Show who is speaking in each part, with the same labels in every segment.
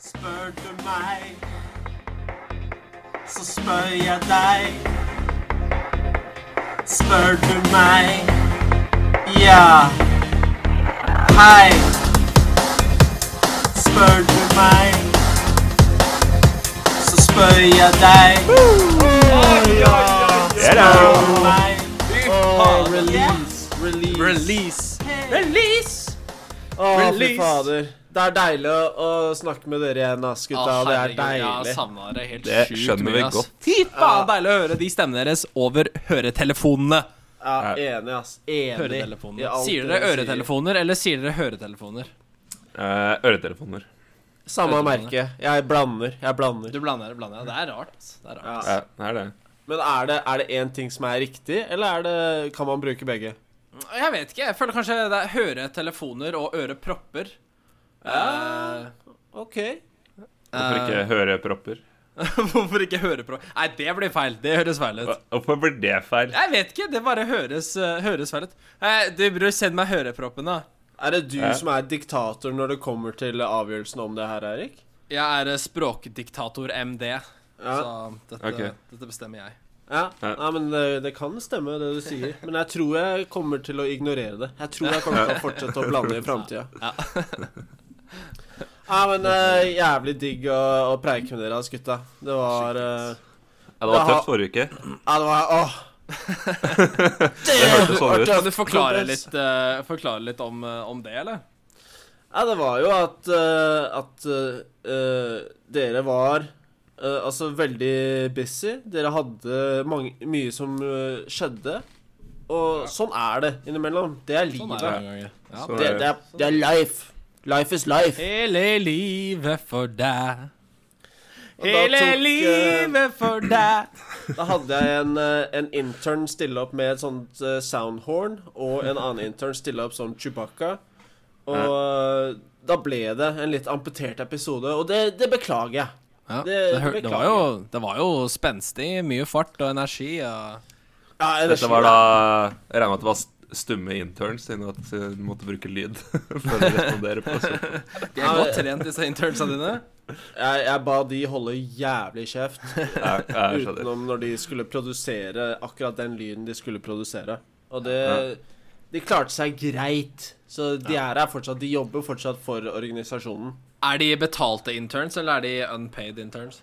Speaker 1: Spør du meg, så spør jeg deg. Spør du meg, ja. Hei. Spør du meg, så spør jeg deg. Spør du meg,
Speaker 2: Oh, Release. Release.
Speaker 3: Release.
Speaker 2: Release.
Speaker 3: Å, fy
Speaker 2: Release.
Speaker 3: fader. Det er deilig å å snakke med dere igjen, ass, gutta. det er
Speaker 2: Jeg har
Speaker 3: deilig.
Speaker 2: savna dere helt
Speaker 4: Det
Speaker 2: sjukt
Speaker 4: skjønner vi
Speaker 2: mye, ass.
Speaker 4: godt.
Speaker 2: Fy faen, deilig å høre de stemmene deres over høretelefonene.
Speaker 3: Ja, enig, ass. Enig. i
Speaker 2: Høretelefoner.
Speaker 3: alt
Speaker 2: Sier dere
Speaker 3: sier.
Speaker 2: øretelefoner, eller sier dere høretelefoner?
Speaker 4: Eh, øretelefoner.
Speaker 3: Samme
Speaker 2: Øretelefoner.
Speaker 3: merke. Jeg blander. Jeg blander.
Speaker 2: Du blander, blander. Det er rart. ass. Det er rart.
Speaker 3: Ja.
Speaker 4: Ja, det er det.
Speaker 3: Men er det, er det én ting som er riktig, eller er det, kan man bruke begge?
Speaker 2: Jeg vet ikke. Jeg føler kanskje det er høretelefoner og ørepropper. Eh,
Speaker 3: OK.
Speaker 4: Hvorfor ikke hørepropper?
Speaker 2: eh, Hvorfor ikke hørepropper? Nei, det blir feil. Det høres feil ut.
Speaker 4: Hva- Hvorfor blir det feil?
Speaker 2: Jeg vet ikke. Det bare høres, eh, høres feil ut. Eh, du, bror, send meg høreproppene.
Speaker 3: Er det du
Speaker 4: Ja.
Speaker 3: som er diktator når det kommer til avgjørelsen om det her, Erik?
Speaker 2: Jeg er eh, språkdiktator MD,
Speaker 3: Ja.
Speaker 2: så dette,
Speaker 4: Ok.
Speaker 2: dette bestemmer jeg.
Speaker 3: ja.
Speaker 4: Ja.
Speaker 3: Nei, men det, det kan stemme, det du sier. Men jeg tror jeg kommer til å ignorere det. Jeg tror jeg kommer til å fortsette å blande i framtida.
Speaker 2: Ja.
Speaker 3: Ja, men eh, jævlig digg å, å preike med dere, ass, gutta. Det var eh,
Speaker 4: Ja, det var
Speaker 3: Jaha.
Speaker 4: tøft forrige uke.
Speaker 3: Ja, det var Åh!
Speaker 4: Det hørtes sånn ut.
Speaker 2: Kan du forklare litt, eh, forklare litt om, eh, om det, eller?
Speaker 3: Ja, det var jo at, eh, at eh, dere var eh, altså veldig busy. Dere hadde mange, mye som eh, skjedde. Og sånn er det innimellom. Det er livet.
Speaker 2: Sånn er det noen ganger. Ja.
Speaker 4: Så,
Speaker 3: det, det, er, det er life. Life is life.
Speaker 2: Hele livet for deg.
Speaker 3: Og da
Speaker 2: Hele
Speaker 3: tok, eh,
Speaker 2: livet for deg.
Speaker 3: Da hadde jeg en, eh, en intern stille opp med et sånt eh, soundhorn, og en annen intern stille opp som Chewbacca. Og eh, da ble det en litt amputert episode, og det, det beklager jeg.
Speaker 2: Ja, det,
Speaker 3: Det-
Speaker 2: hør-
Speaker 3: det
Speaker 2: det, var jo, det var jo spenstig. Mye fart og energi. Og...
Speaker 3: Ja,
Speaker 4: dette var da Jeg regner med at det var st- stumme interns, siden at eh, du måtte bruke lyd for å respondere på sånt.
Speaker 2: De er godt trent, disse internsa dine.
Speaker 3: jeg, jeg ba de holde jævlig kjeft,
Speaker 4: Ja, jeg skjønner.
Speaker 3: utenom når de skulle produsere akkurat den lyden de skulle produsere. Og det
Speaker 4: Ja.
Speaker 3: De klarte seg greit. Så de er her fortsatt. De jobber fortsatt for organisasjonen.
Speaker 2: Er de betalte interns, eller er de unpaid interns?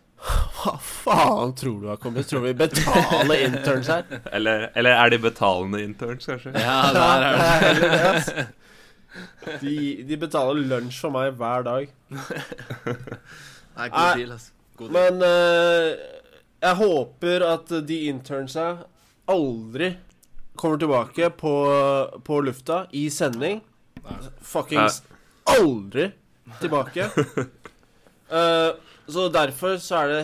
Speaker 3: Hva faen tror du har kommet? Tror vi betaler interns her?
Speaker 4: Eller, eller er de betalende interns, kanskje?
Speaker 2: Ja, der er det.
Speaker 3: De, de betaler lunsj for meg hver dag.
Speaker 2: Nei,
Speaker 3: Nei.
Speaker 2: god deal, altså. God deal.
Speaker 3: Men eh, jeg håper at de internsa aldri kommer tilbake på, på lufta i sending. Fuckings aldri tilbake. Eh, så derfor så er det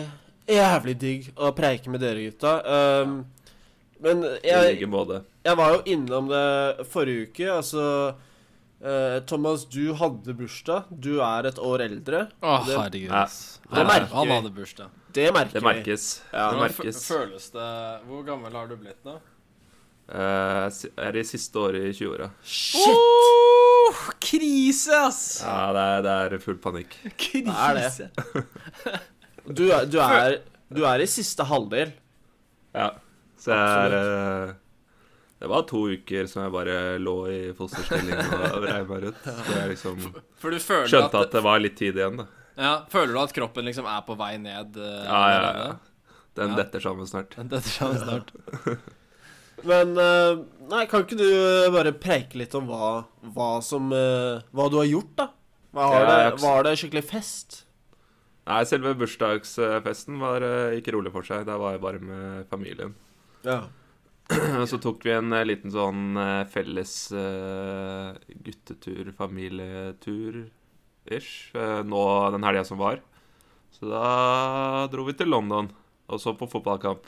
Speaker 3: jævlig digg å preike med dere, gutta. Um, men
Speaker 4: I
Speaker 3: jeg,
Speaker 4: like måte.
Speaker 3: jeg var jo innom det forrige uke. Altså eh, Thomas, du hadde bursdag. Du er et år eldre.
Speaker 2: Å,
Speaker 3: det-
Speaker 2: herregud.
Speaker 4: Nei.
Speaker 2: ass.
Speaker 3: Det
Speaker 2: Han-
Speaker 3: merker
Speaker 2: Han
Speaker 3: vi.
Speaker 2: hadde bursdag.
Speaker 3: Det merker
Speaker 4: Det
Speaker 3: vi.
Speaker 4: merkes.
Speaker 3: Ja,
Speaker 4: Det
Speaker 2: Hvordan
Speaker 4: merkes.
Speaker 2: fø- Føles det Hvor gammel har du blitt nå?
Speaker 4: Eh, si- er i siste året i 20-åra.
Speaker 3: Shit!
Speaker 2: krise, ass!
Speaker 4: Ja, det er, det er full panikk.
Speaker 2: Krise.
Speaker 3: Det er Du, er- du, er, du er i siste halvdel.
Speaker 4: Ja. Så jeg er eh, Det var to uker som jeg bare lå i fosterstilling og vrei meg rundt. Så jeg liksom
Speaker 2: For du føler
Speaker 4: skjønte
Speaker 2: at,
Speaker 4: at det var litt tid igjen, da.
Speaker 2: ja, Føler du at kroppen liksom er på vei ned? eh,
Speaker 4: Ja, ja,
Speaker 2: ned
Speaker 4: ja.
Speaker 2: denne?
Speaker 4: Den
Speaker 2: Ja.
Speaker 4: detter sammen snart.
Speaker 2: Dette skjer snart.
Speaker 3: Men eh, Nei, kan ikke du bare preike litt om hva, hva som eh, Hva du har gjort, da? Hva har
Speaker 4: Ja, jeg
Speaker 3: det,
Speaker 4: har-
Speaker 3: var det skikkelig fest?
Speaker 4: Nei, selve bursdagsfesten var, eh, gikk rolig for seg. Da var jeg bare med familien.
Speaker 3: Ja.
Speaker 4: Og så tok vi en eh, liten sånn eh, felles eh, guttetur, familietur-ish, eh, nå den helga som var. Så da dro vi til London, og så på fotballkamp.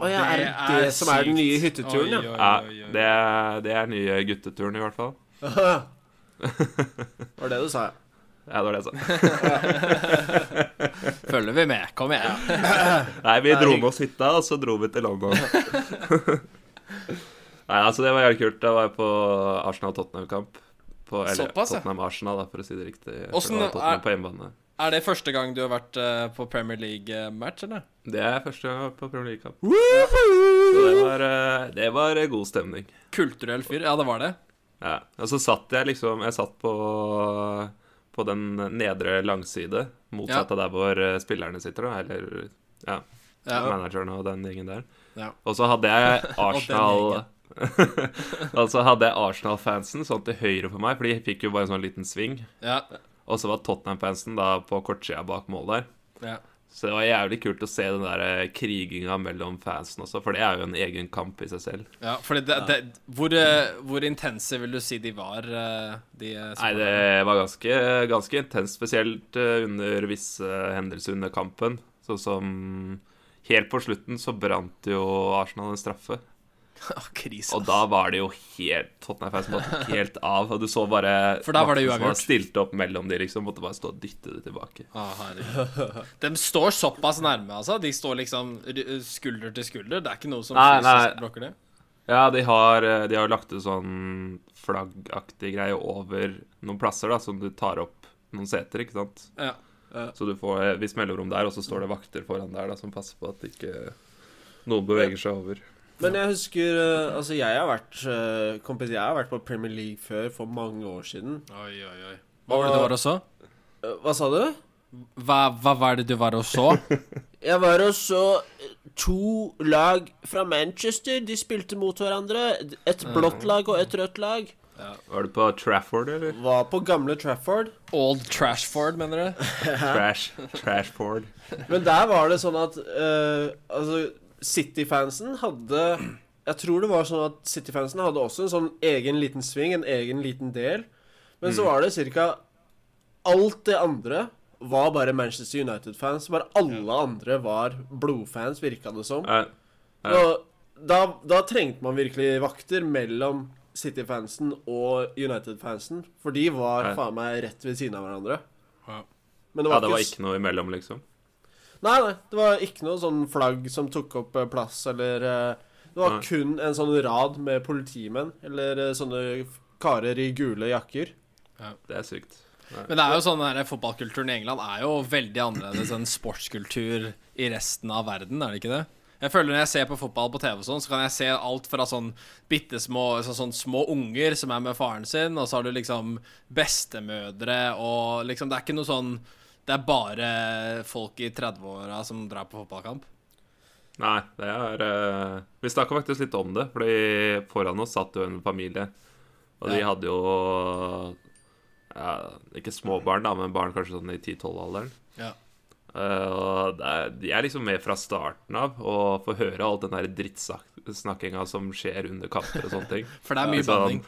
Speaker 3: Å ja, er det det som er den nye hytteturen, ja?
Speaker 4: Ja, det, er- det er nye gutteturen, i hvert fall.
Speaker 3: Var det du sa, ja.
Speaker 4: Ja, det var det jeg sa.
Speaker 2: Følger vi med? Kom igjen.
Speaker 4: Nei, vi dro med oss hytta, og så dro vi til London. Nei, altså, det var jævlig kult. Da var jeg på Arsenal-Tottenham-kamp. På- Eller
Speaker 2: Såpass, ja.
Speaker 4: Tottenham-Arsenal, da, for å si det riktig.
Speaker 2: Åssen
Speaker 4: Det var Tottenham
Speaker 2: er-
Speaker 4: på hjemmebane.
Speaker 2: Er det første gang du har vært eh, på Premier League-match, eller?
Speaker 4: Det er første gang jeg har vært på Premier League-kamp. Så det var, eh, det var god stemning.
Speaker 2: Kulturell fyr? Ja, det var det.
Speaker 4: Ja. Og så satt jeg liksom Jeg satt på, på den nedre langside, motsatt av der hvor eh, spillerne sitter, da, eller ja,
Speaker 2: Ja.
Speaker 4: manageren og den gjengen der.
Speaker 2: Ja.
Speaker 4: Og så hadde jeg Arsenal
Speaker 2: gjengen.
Speaker 4: Og så hadde jeg Arsenal-fansen sånn til høyre for meg, for de fikk jo bare en sånn liten sving.
Speaker 2: ja.
Speaker 4: Og så var Tottenham-fansen da på kortsida bak mål der.
Speaker 2: ja.
Speaker 4: Så det var jævlig kult å se den der eh, kriginga mellom fansen også, for det er jo en egen kamp i seg selv.
Speaker 2: Ja, fordi det, det, hvor, eh, hvor intense vil du si de var, eh, de eh,
Speaker 4: Nei, det var ganske, ganske intenst, spesielt eh, under visse hendelser under kampen. Sånn som Helt på slutten så brant jo Arsenal en straffe,
Speaker 2: Å, krise.
Speaker 4: og da var det jo helt Tottenham-fansen bare tok helt av, og du så bare
Speaker 2: For da var det
Speaker 4: Martin som
Speaker 2: uavgjort.
Speaker 4: stilt opp mellom de, liksom, måtte bare stå og dytte det tilbake.
Speaker 2: Ah, herregud. de står såpass nærme, altså. De står liksom r- skulder til skulder. Det er ikke noe som
Speaker 4: Nei,
Speaker 2: fysisk
Speaker 4: nei.
Speaker 2: blokker det.
Speaker 4: Ja, de har, eh, de har lagt ut sånn flaggaktig greie over noen plasser, da, som du tar opp noen seter, ikke sant?
Speaker 2: Ja.
Speaker 4: Så du får et visst mellomrom der, og så står det vakter foran der da, som passer på at ikke noen beveger seg over.
Speaker 3: Men jeg husker eh, Altså, jeg har vært eh, kompis, jeg har vært på Premier League før for mange år siden.
Speaker 2: Oi, oi, oi. Hva var det du var og så?
Speaker 3: Eh, Hva sa du?
Speaker 2: Hva, hva var det du var og så?
Speaker 3: Jeg var og så to lag fra Manchester. De spilte mot hverandre. Et blått lag og et rødt lag.
Speaker 4: Var du på Trafford, eller?
Speaker 3: Var på gamle Trafford.
Speaker 2: Old Trashford, mener du?
Speaker 4: Trash, Trashford.
Speaker 3: Men der var det sånn at eh, Altså, City-fansen hadde Jeg tror det var sånn at City-fansen hadde også en sånn egen liten sving, en egen liten del. Men
Speaker 4: Mm.
Speaker 3: så var det ca. Alt det andre var bare Manchester United-fans. Bare alle andre var blodfans, virka det som.
Speaker 4: Ja, Ja.
Speaker 3: Og da, da trengte man virkelig vakter mellom City-fansen og United-fansen. For de var
Speaker 4: Ja.
Speaker 3: faen meg rett ved siden av hverandre.
Speaker 2: Ja.
Speaker 3: Men
Speaker 4: ja, det var
Speaker 3: s-
Speaker 4: ikke noe imellom, liksom.
Speaker 3: Nei, nei, det var ikke noe sånn flagg som tok opp eh, plass, eller eh, Det var
Speaker 4: Nei.
Speaker 3: kun en sånn rad med politimenn, eller eh, sånne f- karer i gule jakker.
Speaker 4: Det er sykt.
Speaker 2: Men det er jo sånn her, fotballkulturen i England er jo veldig annerledes enn sportskultur i resten av verden, er det ikke det? Jeg føler Når jeg ser på fotball på TV, og sånn, så kan jeg se alt fra sånn bitte små, så, sånn små unger som er med faren sin, og så har du liksom bestemødre og liksom Det er ikke noe sånn Det er bare folk i 30-åra som drar på fotballkamp.
Speaker 4: Nei, det er eh, Vi snakka faktisk litt om det, fordi foran oss satt jo en familie. Og de
Speaker 2: Ja.
Speaker 4: hadde jo ja, Ikke småbarn, da, men barn kanskje sånn i 10-12-alderen.
Speaker 2: Ja.
Speaker 4: og det er, de er liksom med fra starten av og får høre all den der drittsnakkinga som skjer under kamper og sånne ting.
Speaker 2: For det er mye
Speaker 4: Liksom,
Speaker 2: banning.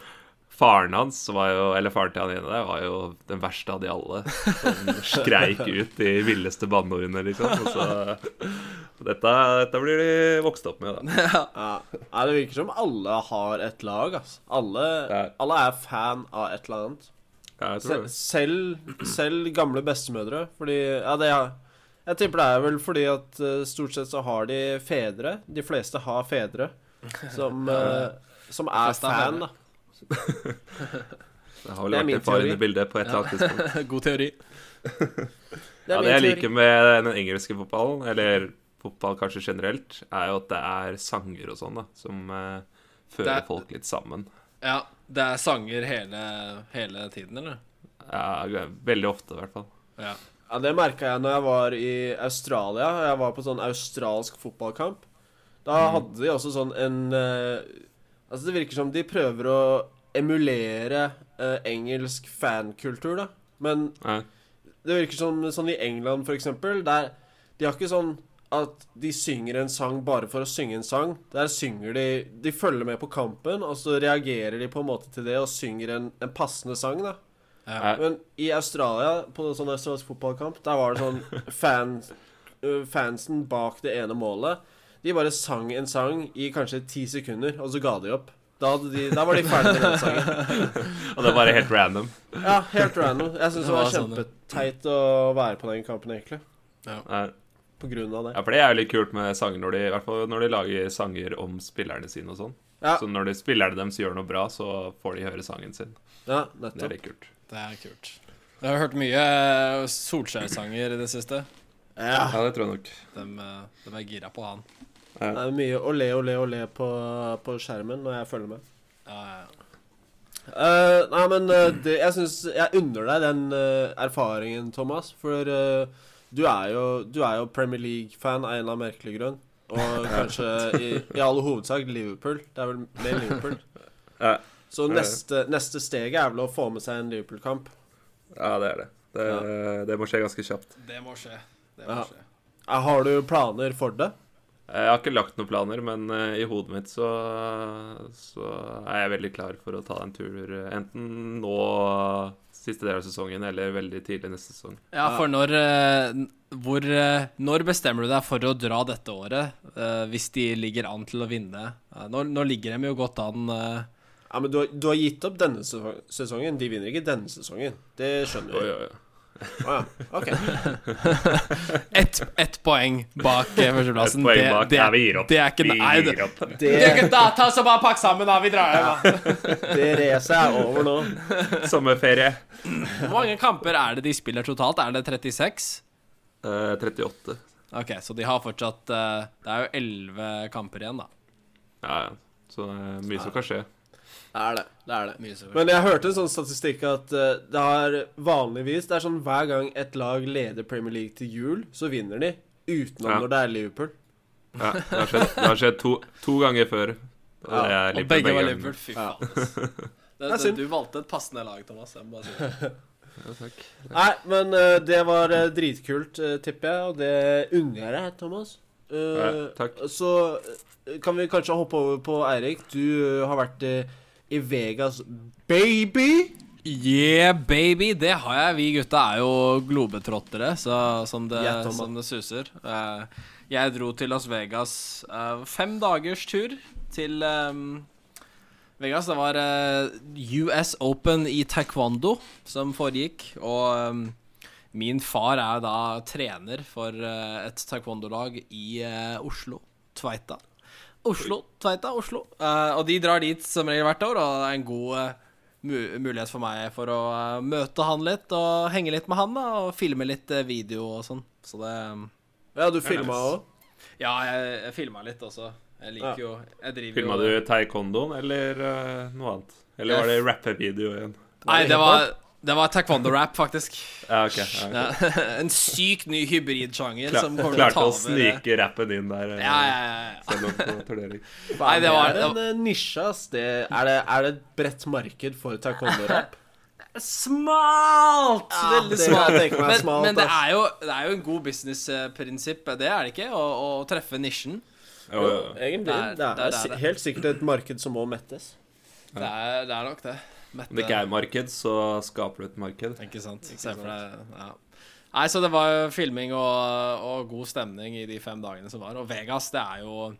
Speaker 4: Faren hans var jo, eller faren til han ene der var jo den verste av de alle. Han skreik ut de villeste banneordene, liksom. Og så, dette, dette blir de vokst opp med, da.
Speaker 3: Ja. Nei, det virker som alle har et lag, altså. Alle,
Speaker 4: Ja.
Speaker 3: alle er fan av et eller annet.
Speaker 4: Ja, jeg
Speaker 3: Se,
Speaker 4: tror det.
Speaker 3: selv, selv gamle bestemødre. Fordi Ja, det er Jeg tipper det er vel fordi at eh, stort sett så har de fedre. De fleste har fedre som, eh, som er
Speaker 2: fleste har
Speaker 3: fan,
Speaker 2: fedre.
Speaker 3: da.
Speaker 4: Det har vel
Speaker 3: Det er
Speaker 4: vært
Speaker 3: min
Speaker 4: en far
Speaker 3: teori.
Speaker 4: inne i bildet på et eller annet tidspunkt.
Speaker 2: God teori.
Speaker 3: er
Speaker 4: Ja,
Speaker 3: min
Speaker 4: det jeg
Speaker 3: teori.
Speaker 4: liker med den engelske fotballen, eller fotball kanskje generelt, er jo at det er sanger og sånn, da, som eh, fører
Speaker 2: Det er-
Speaker 4: folk litt sammen.
Speaker 2: Ja. Det er sanger hele, hele tiden, eller?
Speaker 4: Ja, veldig ofte, i hvert fall.
Speaker 2: Ja.
Speaker 3: Ja, Det merka jeg når jeg var i Australia. og Jeg var på sånn australsk fotballkamp. Da hadde de også sånn en eh, Altså, det virker som de prøver å emulere eh, engelsk fankultur, da. Men
Speaker 4: Ja.
Speaker 3: det virker som sånn i England, for eksempel, der de har ikke sånn at de synger en sang bare for å synge en sang. Der synger de De følger med på kampen, og så reagerer de på en måte til det og synger en, en passende sang, da.
Speaker 4: Ja.
Speaker 3: Men i Australia, på sånn australsk fotballkamp, der var det sånn fan, øh, Fansen bak det ene målet De bare sang en sang i kanskje ti sekunder, og så ga de opp. Da, hadde de, da var de ferdige med den sangen.
Speaker 4: Og det er bare helt random.
Speaker 3: Ja, helt random. Jeg syns det var
Speaker 2: Det var sånn, ja.
Speaker 3: kjempeteit å være på den kampen, egentlig.
Speaker 4: Ja,
Speaker 3: På grunn av det.
Speaker 4: Ja, for det er jo litt kult med sanger, når de, i hvert fall når de lager sanger om spillerne sine og sånn.
Speaker 3: Ja.
Speaker 4: Så når de spillerne deres gjør noe bra, så får de høre sangen sin.
Speaker 3: Ja,
Speaker 4: Det er
Speaker 3: nettopp.
Speaker 4: litt kult.
Speaker 2: Det er kult. Jeg har hørt mye eh, Solskjær-sanger i det siste.
Speaker 3: Ja.
Speaker 5: Ja, det tror jeg nok.
Speaker 2: De, de er gira på han.
Speaker 3: Det er mye olé, olé, olé på, på skjermen når jeg følger med.
Speaker 2: Ja, ja, ja.
Speaker 3: Eh, nei, men eh, det, jeg syns Jeg unner deg den eh, erfaringen, Thomas. For eh, du, er jo, du er jo Premier League-fan av en eller annen merkelig grunn. Og kanskje i, i all hovedsak Liverpool. Det er vel mer Liverpool.
Speaker 5: Ja.
Speaker 3: Så
Speaker 5: Ja, ja.
Speaker 3: neste, neste steget er vel å få med seg en Liverpool-kamp.
Speaker 5: Ja, det er det. Det, det må skje ganske kjapt.
Speaker 2: Det må skje. Det må
Speaker 3: Ja.
Speaker 2: skje.
Speaker 3: Eh, Har du planer for det?
Speaker 5: Eh, Jeg har ikke lagt noen planer, men eh, i hodet mitt så, så er jeg veldig klar for å ta en tur eh, enten nå siste del av sesongen eller veldig tidlig neste sesong.
Speaker 2: Ja, for når eh, n- hvor, eh, Når bestemmer du deg for å dra dette året, eh, hvis de ligger an til å vinne? Eh, nå, nå ligger de jo godt an. eh,
Speaker 3: Ja, men du har, du har gitt opp denne sesong- sesongen. De vinner ikke denne sesongen. Det skjønner
Speaker 5: Oi,
Speaker 3: vi.
Speaker 5: oi, oi.
Speaker 3: Ah, ja. ok.
Speaker 2: Ett ett poeng bak eh,
Speaker 5: Et
Speaker 2: førsteplassen.
Speaker 5: poeng bak.
Speaker 2: det,
Speaker 5: Nei, vi gir opp.
Speaker 2: det er ikke
Speaker 5: vi
Speaker 2: nei, det-
Speaker 5: gir opp.
Speaker 3: Det,
Speaker 2: Du, gutta, ta så bare pakk sammen, da. Vi drar hjem, da.
Speaker 3: det racet er over nå.
Speaker 5: Sommerferie.
Speaker 2: Hvor mange kamper er det de spiller totalt? Er det 36?
Speaker 5: Eh, 38.
Speaker 2: Ok, så de har fortsatt eh, Det er jo 11 kamper igjen, da.
Speaker 5: Ja, ja. Så eh, mye som kan skje.
Speaker 3: Det er det. det, er det.
Speaker 2: Mye så-
Speaker 3: Men jeg hørte en sånn statistikk at eh, det har vanligvis Det er sånn hver gang et lag leder Premier League til jul, så vinner de. Utenom
Speaker 5: Ja.
Speaker 3: når det er Liverpool.
Speaker 5: Ja, det har skjedd, det har skjedd to, to ganger før. Og
Speaker 3: Ja,
Speaker 5: det er
Speaker 2: Og
Speaker 5: Liverpool
Speaker 2: begge
Speaker 5: begge
Speaker 2: var
Speaker 5: gangene.
Speaker 2: Liverpool. Fy
Speaker 3: Ja.
Speaker 2: faen. ass.
Speaker 3: er
Speaker 2: Det, det,
Speaker 3: synd.
Speaker 2: du valgte et passende lag, Thomas. Jeg må bare si det.
Speaker 5: Ja, takk.
Speaker 3: Nei, men eh, det var eh, dritkult, eh, tipper jeg, og det unner jeg deg, Thomas. Eh,
Speaker 5: Ja, takk.
Speaker 3: Så eh, kan vi kanskje hoppe over på Eirik. Du eh, har vært eh, i Vegas, baby!
Speaker 2: Yeah, baby! Det har jeg. Vi gutta er jo globetrottere, så, som, det,
Speaker 3: Ja, Thomas.
Speaker 2: som det suser. Eh, jeg dro til Las Vegas eh, fem dagers tur til eh, Vegas. Det var eh, US Open i taekwondo som foregikk, og eh, min far er da trener for eh, et taekwondolag i eh, Oslo. Tveita. Oslo, Tveita, Oslo. Eh, og de drar dit som regel hvert år, og det er en god eh, mu- mulighet for meg for å eh, møte han litt, og henge litt med han, da, og filme litt eh, video og sånn. Så det
Speaker 3: Ja, du filma òg.
Speaker 2: Ja, jeg, jeg filma litt også. Jeg
Speaker 3: Ja.
Speaker 2: liker jo Jeg driver
Speaker 5: Filma
Speaker 2: jo
Speaker 5: du taekwondoen eller eh, noe annet? Eller var det rappevideo igjen?
Speaker 2: Nei, det var, det var taekwondo-rap, faktisk.
Speaker 5: Ja, ok. Ja, ok.
Speaker 2: Ja. en syk ny hybridsjanger
Speaker 5: Kla
Speaker 2: som kommer til å
Speaker 5: klarte
Speaker 2: ta
Speaker 5: å
Speaker 2: over eh,
Speaker 5: snike rappen inn der. eh,
Speaker 2: Ja, ja, ja, ja.
Speaker 5: Selv om på turnering.
Speaker 2: Nei, det var-
Speaker 3: er en eh, nisje, ass. Det, er, det, er det et bredt marked for taekwondo-rapp?
Speaker 2: Smalt! Veldig
Speaker 3: det
Speaker 2: smalt.
Speaker 3: kan jeg tenke meg
Speaker 2: men,
Speaker 3: smalt,
Speaker 2: men det,
Speaker 3: ass.
Speaker 2: er jo, det er jo en god businessprinsipp, det er det ikke? Å, å treffe nisjen.
Speaker 5: Jo, jo, jo.
Speaker 3: Egentlig.
Speaker 2: Det er-
Speaker 3: Det er,
Speaker 2: det er det.
Speaker 3: si- helt sikkert et marked som må mettes.
Speaker 2: Det er, det er nok det.
Speaker 5: Om det ikke er marked, så skaper du et marked.
Speaker 2: Ikke sant. Se for deg ja. Nei, så det var jo filming og, og god stemning i de fem dagene som var. Og Vegas, det er jo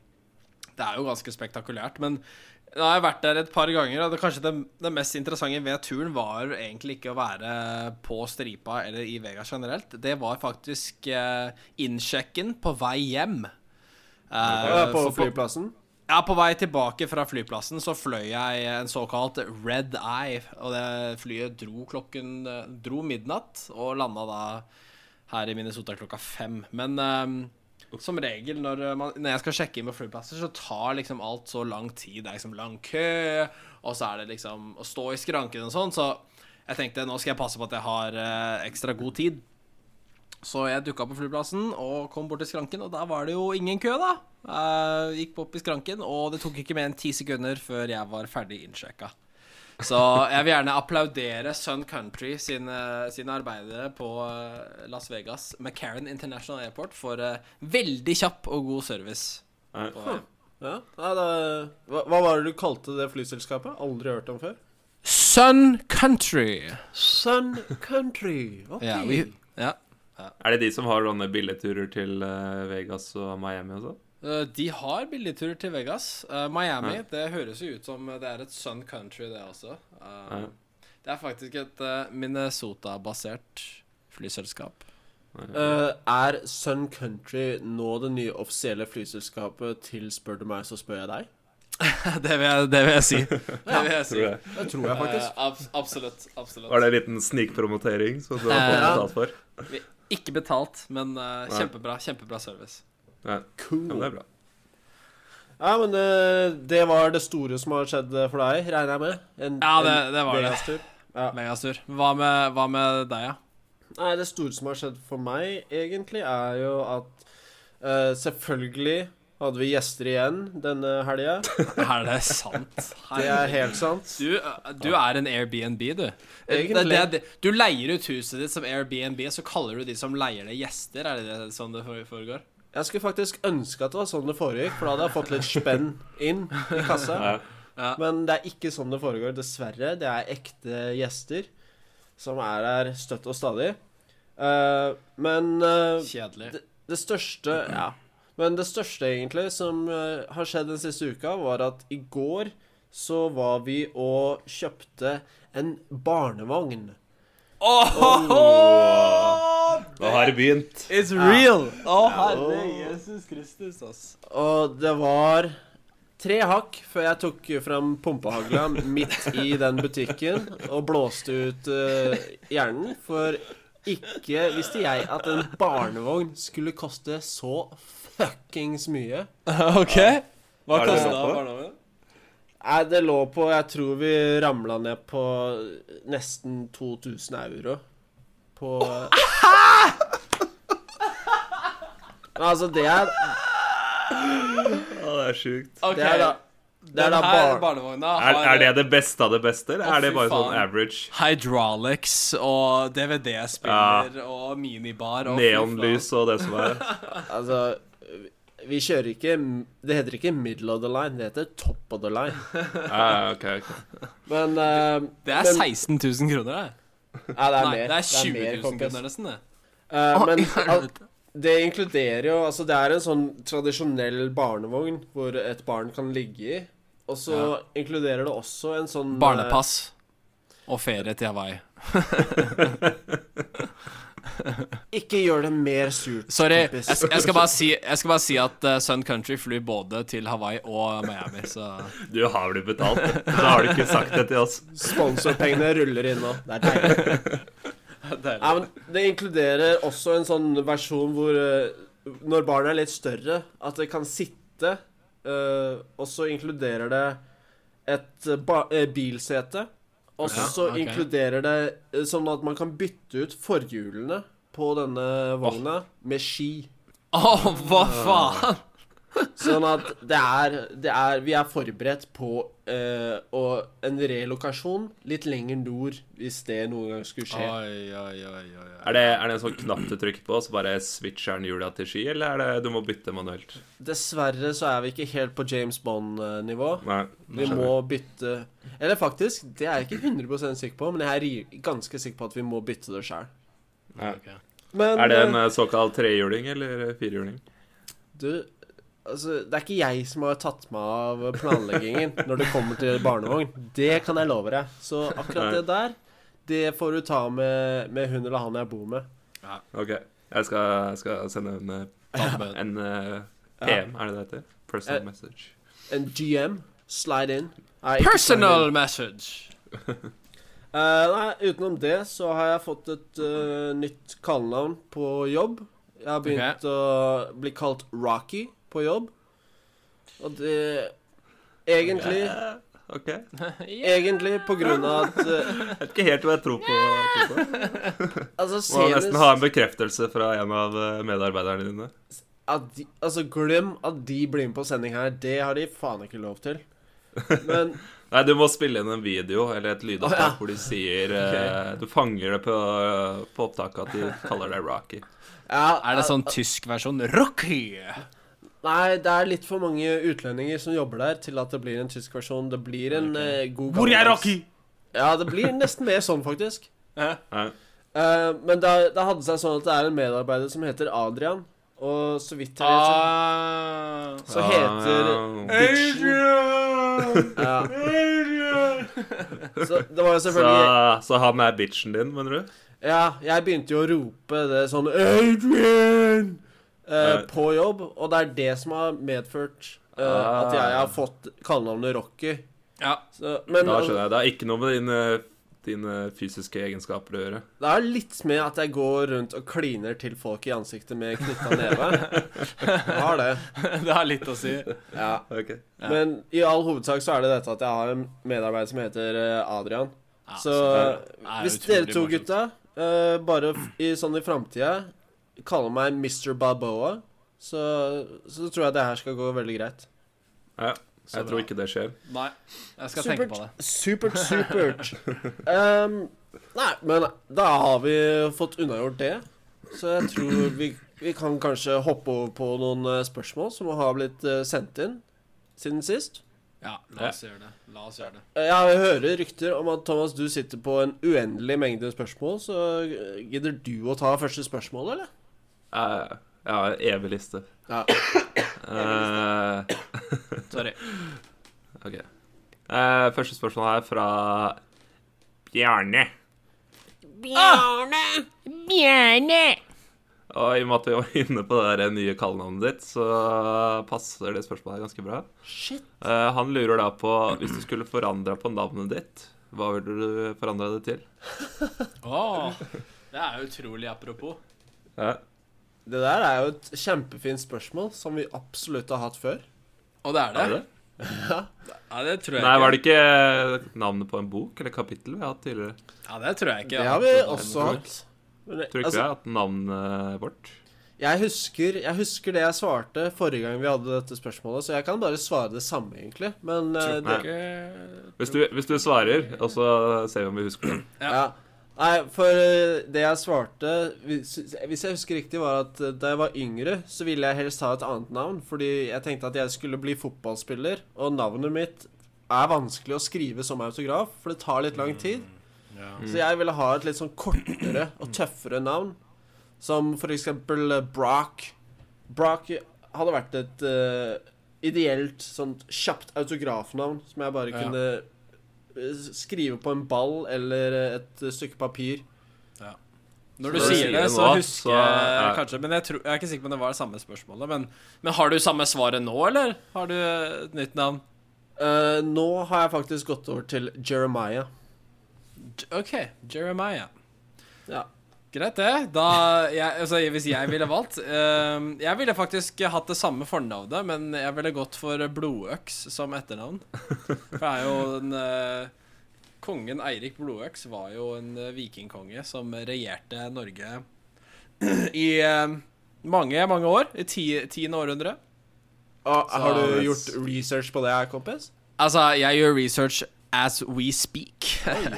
Speaker 2: Det er jo ganske spektakulært. Men nå har jeg vært der et par ganger, og det, kanskje det, det mest interessante ved turen var egentlig ikke å være på stripa eller i Vegas generelt. Det var faktisk eh, innsjekken på vei hjem. Eh,
Speaker 3: Ja, på
Speaker 2: for
Speaker 3: flyplassen.
Speaker 2: ja, på vei tilbake fra flyplassen så fløy jeg en såkalt red eye, og det flyet dro klokken dro midnatt og landa da her i Minnesota klokka fem. Men ehm, som regel når, eh, man, når jeg skal sjekke inn på flyplasser, så tar liksom alt så lang tid. Det er liksom lang kø, og så er det liksom å stå i skranken og sånn, så jeg tenkte nå skal jeg passe på at jeg har eh, ekstra god tid. Så jeg dukka på flyplassen og kom bort til skranken, og der var det jo ingen kø, da. Jeg gikk opp i skranken, og det tok ikke mer enn ti sekunder før jeg var ferdig innsjekka. Så jeg vil gjerne applaudere Sun Country sine, sine arbeidere på eh, Las Vegas McCarran International Airport for eh, veldig kjapp og god service.
Speaker 5: Nei.
Speaker 2: På, eh,
Speaker 3: Ja, ja det, hva, hva var det du kalte det flyselskapet? Aldri hørt om før.
Speaker 2: Sun Country.
Speaker 3: Sun Country. Ok.
Speaker 2: Ja, vi, ja.
Speaker 5: Er det de som har sånne billigturer til eh, Vegas og Miami og sånn?
Speaker 2: Eh, De har billigturer til Vegas. Eh, Miami,
Speaker 5: Ja.
Speaker 2: det høres jo ut som det er et Sun Country, det også. Eh,
Speaker 5: Ja.
Speaker 2: Det er faktisk et eh, Minnesota-basert flyselskap.
Speaker 3: Eh, er Sun Country nå det nye offisielle flyselskapet til Spør du meg, så spør jeg deg?
Speaker 2: Det vil jeg, det vil jeg si. Det vil jeg si.
Speaker 5: Tror jeg.
Speaker 3: Det tror jeg
Speaker 2: Eh,
Speaker 3: faktisk.
Speaker 2: abs absolutt. absolutt.
Speaker 5: Var det en liten snikpromotering som du har fått
Speaker 2: Ja.
Speaker 5: betalt for?
Speaker 2: Ikke betalt, men eh, kjempebra, kjempebra service.
Speaker 5: Nei. Ja, men
Speaker 3: Eh, Cool.
Speaker 5: det er bra.
Speaker 3: Ja, men eh, det var det store som har skjedd for deg, regner jeg med? En,
Speaker 2: Ja, det-
Speaker 3: en
Speaker 2: det var det.
Speaker 3: Vegas-tur.
Speaker 2: Megasur. Hva med, hva med deg, ja?
Speaker 3: Nei, det store som har skjedd for meg, egentlig, er jo at eh, selvfølgelig hadde vi gjester igjen denne helga.
Speaker 2: Er det sant?
Speaker 3: Det er helt sant.
Speaker 2: Du, eh, du er en Airbnb, du. Eh,
Speaker 3: Egentlig.
Speaker 2: Det, det, det, du leier ut huset ditt som Airbnb, så kaller du de som leier det, gjester. Er det det sånn det fore- foregår?
Speaker 3: Jeg skulle faktisk ønske at det var sånn det foregikk, for da hadde jeg fått litt spenn inn i kassa.
Speaker 5: Ja.
Speaker 2: Ja.
Speaker 3: Men det er ikke sånn det foregår, dessverre. Det er ekte gjester som er her støtt og stadig. Eh, men eh,
Speaker 2: Kjedelig.
Speaker 3: det, det største Ja. Men det største egentlig som eh, har skjedd den siste uka, var at i går så var vi og kjøpte en barnevogn.
Speaker 5: Da har det begynt.
Speaker 2: It's
Speaker 3: real.
Speaker 2: Å, herre Jesus Kristus, ass.
Speaker 3: Og det var tre hakk før jeg tok fram pumpehagla midt i den butikken og blåste ut eh, hjernen, for ikke visste jeg at en barnevogn skulle koste så fuckings mye.
Speaker 2: OK. Hva
Speaker 5: Er det
Speaker 2: kosta
Speaker 5: såpass?
Speaker 2: barnehagen?
Speaker 3: Nei, det lå på Jeg tror vi ramla ned på nesten 2000 euro på Men Altså, det er,
Speaker 5: Ja, det er sjukt.
Speaker 2: Ok,
Speaker 3: det er da Det er da
Speaker 2: den her
Speaker 3: bar...
Speaker 2: barnevogna
Speaker 5: Er,
Speaker 2: har
Speaker 5: er det det beste av det beste, eller
Speaker 2: Å,
Speaker 5: er det
Speaker 2: fy
Speaker 5: bare sånn
Speaker 2: faen.
Speaker 5: average?
Speaker 2: hydraulics og DVD-spiller og minibar og fy faen.
Speaker 5: Neonlys og det som er.
Speaker 3: Altså, vi kjører ikke Det heter ikke middle of the line, det heter top of the line.
Speaker 5: Ja, ja, ok, ok.
Speaker 3: Men eh,
Speaker 2: Det er
Speaker 3: men-
Speaker 2: 16 000 kroner, det.
Speaker 3: Ja, det er
Speaker 2: Nei,
Speaker 3: mer.
Speaker 2: det er 20
Speaker 3: mer,
Speaker 2: 000
Speaker 3: kompis.
Speaker 2: kroner, nesten, det.
Speaker 3: Eh,
Speaker 2: Å,
Speaker 3: men
Speaker 2: i
Speaker 3: al-
Speaker 2: helvete.
Speaker 3: det inkluderer jo Altså, det er en sånn tradisjonell barnevogn hvor et barn kan ligge i. Og så inkluderer det også en sånn eh,
Speaker 2: Barnepass og ferie til Hawaii.
Speaker 3: eh, Ikke gjør det mer surt.
Speaker 2: Sorry, jeg,
Speaker 3: kompis.
Speaker 2: jeg, skal, bare si, jeg skal bare si at eh, Sun Country flyr både til Hawaii og Miami, så
Speaker 5: Du har blitt betalt. Så har du ikke sagt det til oss.
Speaker 3: Sponsorpengene ruller inn nå. Det er deilig.
Speaker 2: Deilig.
Speaker 3: Ja, men det inkluderer også en sånn versjon hvor eh, når barnet er litt større, at det kan sitte, eh, og så inkluderer det et eh, ba eh, bilsete, og
Speaker 2: Ja,
Speaker 3: så
Speaker 2: ok.
Speaker 3: inkluderer det eh, sånn at man kan bytte ut forhjulene på denne vogna med ski.
Speaker 2: Å, hva faen?
Speaker 3: Sånn at det er, det er Vi er forberedt på eh, å- en relokasjon litt lenger nord, hvis det noen gang skulle skje.
Speaker 2: Oi, oi, oi, oi. oi.
Speaker 5: Er det, er det en sånn knapp du trykker på, så bare switcher den hjula til ski, eller er det du må bytte manuelt?
Speaker 3: Dessverre så er vi ikke helt på James Bond-nivå.
Speaker 5: Nei.
Speaker 3: Vi
Speaker 5: skjønner.
Speaker 3: må bytte Eller faktisk, det er jeg ikke 100 sikker på, men jeg er ri- ganske sikker på at vi må bytte det sjøl.
Speaker 5: Ja.
Speaker 3: Men
Speaker 5: Er det en
Speaker 3: eh,
Speaker 5: eh, såkalt trehjuling eller eh, firehjuling?
Speaker 3: du Altså, det er ikke jeg som har tatt meg av planleggingen når det kommer til barnevogn. Det kan jeg love deg. Så akkurat det der, det får du ta med, med hun eller han jeg bor med.
Speaker 5: OK. Jeg skal, jeg skal sende en, eh,
Speaker 2: Tabben.
Speaker 5: en eh, PM, er det det heter? Personal
Speaker 3: Eh,
Speaker 5: message.
Speaker 3: En GM. Slide in. Nei, ikke slide in.
Speaker 2: Personal message.
Speaker 3: Eh, nei, utenom det så har jeg fått et eh, nytt kallenavn på jobb. Jeg har begynt å bli kalt Rocky på jobb. Og det Egentlig,
Speaker 5: Eh, OK. Jeg
Speaker 3: egentlig på grunn av at eh,
Speaker 5: vet ikke helt hva jeg tror på. tror på.
Speaker 3: Altså,
Speaker 5: Må nesten ha en
Speaker 3: senest
Speaker 5: bekreftelse fra en av eh, medarbeiderne dine.
Speaker 3: at de, Altså, glem at de blir med på sending her. Det har de faen ikke lov til. Men
Speaker 5: Nei, du må spille inn en video eller et lydopptak
Speaker 3: Å, ja.
Speaker 5: hvor de sier eh, Du fanger det på, på opptaket at de kaller deg Rocky.
Speaker 3: ja, eh,
Speaker 2: Er det sånn tysk versjon? Rocky!
Speaker 3: Nei, det er litt for mange utlendinger som jobber der til at det blir en tysk versjon. Det blir en eh, god
Speaker 2: Hvor er
Speaker 3: gammeldags-
Speaker 2: Rocky?
Speaker 3: Ja, det blir nesten mer sånn, faktisk.
Speaker 5: Nei.
Speaker 3: Eh, men det, det hadde seg sånn at det er en medarbeider som heter Adrian. Og så vidt jeg vet, så-
Speaker 2: Ah.
Speaker 3: så heter
Speaker 5: Ah.
Speaker 3: Diction ja. Så det var jo
Speaker 5: Så,
Speaker 3: selvfølgelig
Speaker 5: så han er bitchen din, mener du?
Speaker 3: Ja, jeg begynte jo å rope det sånn Adrian! Eh, eh,
Speaker 4: Nei.
Speaker 3: på jobb, og det er det som har medført eh,
Speaker 4: Ah.
Speaker 3: at jeg har fått kallenavnet Rocky.
Speaker 2: Ja.
Speaker 3: Så, men
Speaker 4: Da skjønner jeg. Det har ikke noe med dine, dine fysiske egenskaper å gjøre.
Speaker 3: det er litt med at jeg går rundt og kliner til folk i ansiktet med knytta neve. Jeg har det.
Speaker 2: Det har litt å si.
Speaker 3: Ja.
Speaker 4: Ok.
Speaker 3: Men i all hovedsak så er det dette at jeg har en medarbeider som heter eh, Adrian.
Speaker 2: Ja,
Speaker 3: så
Speaker 2: er det
Speaker 3: hvis
Speaker 2: utrolig
Speaker 3: dere to
Speaker 2: morsomt.
Speaker 3: gutta eh, bare f i, sånn i framtida kaller meg Mr. Balboa, så, så tror jeg det her skal gå veldig greit.
Speaker 4: Ja,
Speaker 2: Så
Speaker 4: jeg tror
Speaker 2: bra.
Speaker 4: ikke det skjer.
Speaker 2: Nei, jeg skal tenke på det.
Speaker 3: Supert, supert. Ehm, nei, men da har vi fått unnagjort det. Så jeg tror vi, vi kan kanskje hoppe over på noen eh, spørsmål som har blitt eh, sendt inn siden sist. Eh,
Speaker 2: Ja, la oss gjøre det. La oss gjøre det.
Speaker 3: Jeg hører rykter om at Thomas, du sitter på en uendelig mengde spørsmål, så eh, gidder du å ta første spørsmål, eller?
Speaker 4: Jeg, jeg har en evig liste.
Speaker 3: Ja.
Speaker 4: Eh,
Speaker 2: Sorry.
Speaker 4: ok. Eh, første spørsmål er fra Bjarne.
Speaker 6: Bjørne! Bjørne!
Speaker 4: Og i og med at vi var inne på det der nye kallenavnet ditt, så passer det spørsmålet her ganske bra.
Speaker 3: Shit.
Speaker 4: Eh, han lurer da på Hvis du skulle forandra på navnet ditt, hva ville du forandra det til?
Speaker 2: Åh, det er jo utrolig apropos.
Speaker 4: Ja.
Speaker 3: Det der er jo et kjempefint spørsmål som vi absolutt har hatt før.
Speaker 2: Og det er det?
Speaker 4: Er det?
Speaker 2: Ja, det tror jeg
Speaker 4: Nei,
Speaker 2: ikke.
Speaker 4: var det ikke navnet på en bok eller kapittel vi har hatt tidligere?
Speaker 2: Ja, det tror jeg ikke.
Speaker 3: Det
Speaker 2: Ja.
Speaker 3: har vi også hatt. Men,
Speaker 4: Tror ikke vi
Speaker 3: altså,
Speaker 4: har hatt navnet vårt.
Speaker 3: jeg, husker, jeg husker det jeg svarte forrige gang vi hadde dette spørsmålet, så jeg kan bare svare det samme, egentlig. Men eh,
Speaker 2: Tror
Speaker 3: det,
Speaker 2: ikke
Speaker 4: Hvis du, hvis du svarer, og så ser vi om vi husker det.
Speaker 2: Ja.
Speaker 3: Ja. Nei, for eh, det jeg svarte hvis, hvis jeg husker riktig, var at eh, da jeg var yngre, så ville jeg helst ha et annet navn. Fordi jeg tenkte at jeg skulle bli fotballspiller, og navnet mitt er vanskelig å skrive som autograf, for det tar litt lang tid.
Speaker 2: Mm, ja.
Speaker 3: Så jeg ville ha et litt sånn kortere og tøffere navn. Som for eksempel eh, Brock. Brock hadde vært et eh, ideelt sånt kjapt autografnavn som jeg bare
Speaker 2: Ja.
Speaker 3: kunne eh, skrive på en ball eller eh, et stykke papir.
Speaker 2: Når du
Speaker 4: Så
Speaker 2: sier
Speaker 4: sier
Speaker 2: det,
Speaker 4: det
Speaker 2: så
Speaker 4: nå,
Speaker 2: husker
Speaker 4: så-
Speaker 2: jeg
Speaker 4: ja.
Speaker 2: kanskje Men jeg, tror, jeg er ikke sikker på om det var det samme spørsmålet. Men, men har du samme svaret nå, eller? Har du et nytt navn?
Speaker 3: Eh, nå har jeg faktisk gått over til Jeremiah.
Speaker 2: J- OK, Jeremiah.
Speaker 3: Ja.
Speaker 2: Greit, det. Da jeg, altså, Hvis jeg ville valgt eh, Jeg ville faktisk hatt det samme fornavnet, men jeg ville gått for Blodøks som etternavn. For jeg er jo en eh, Kongen Eirik Blodøks var jo en eh, vikingkonge som regjerte Norge i eh, mange, mange år. I ti, tiende århundre.
Speaker 3: Og, Ah, har du
Speaker 4: det-
Speaker 3: gjort research på det her, kompis?
Speaker 2: Altså, jeg gjør research as we speak.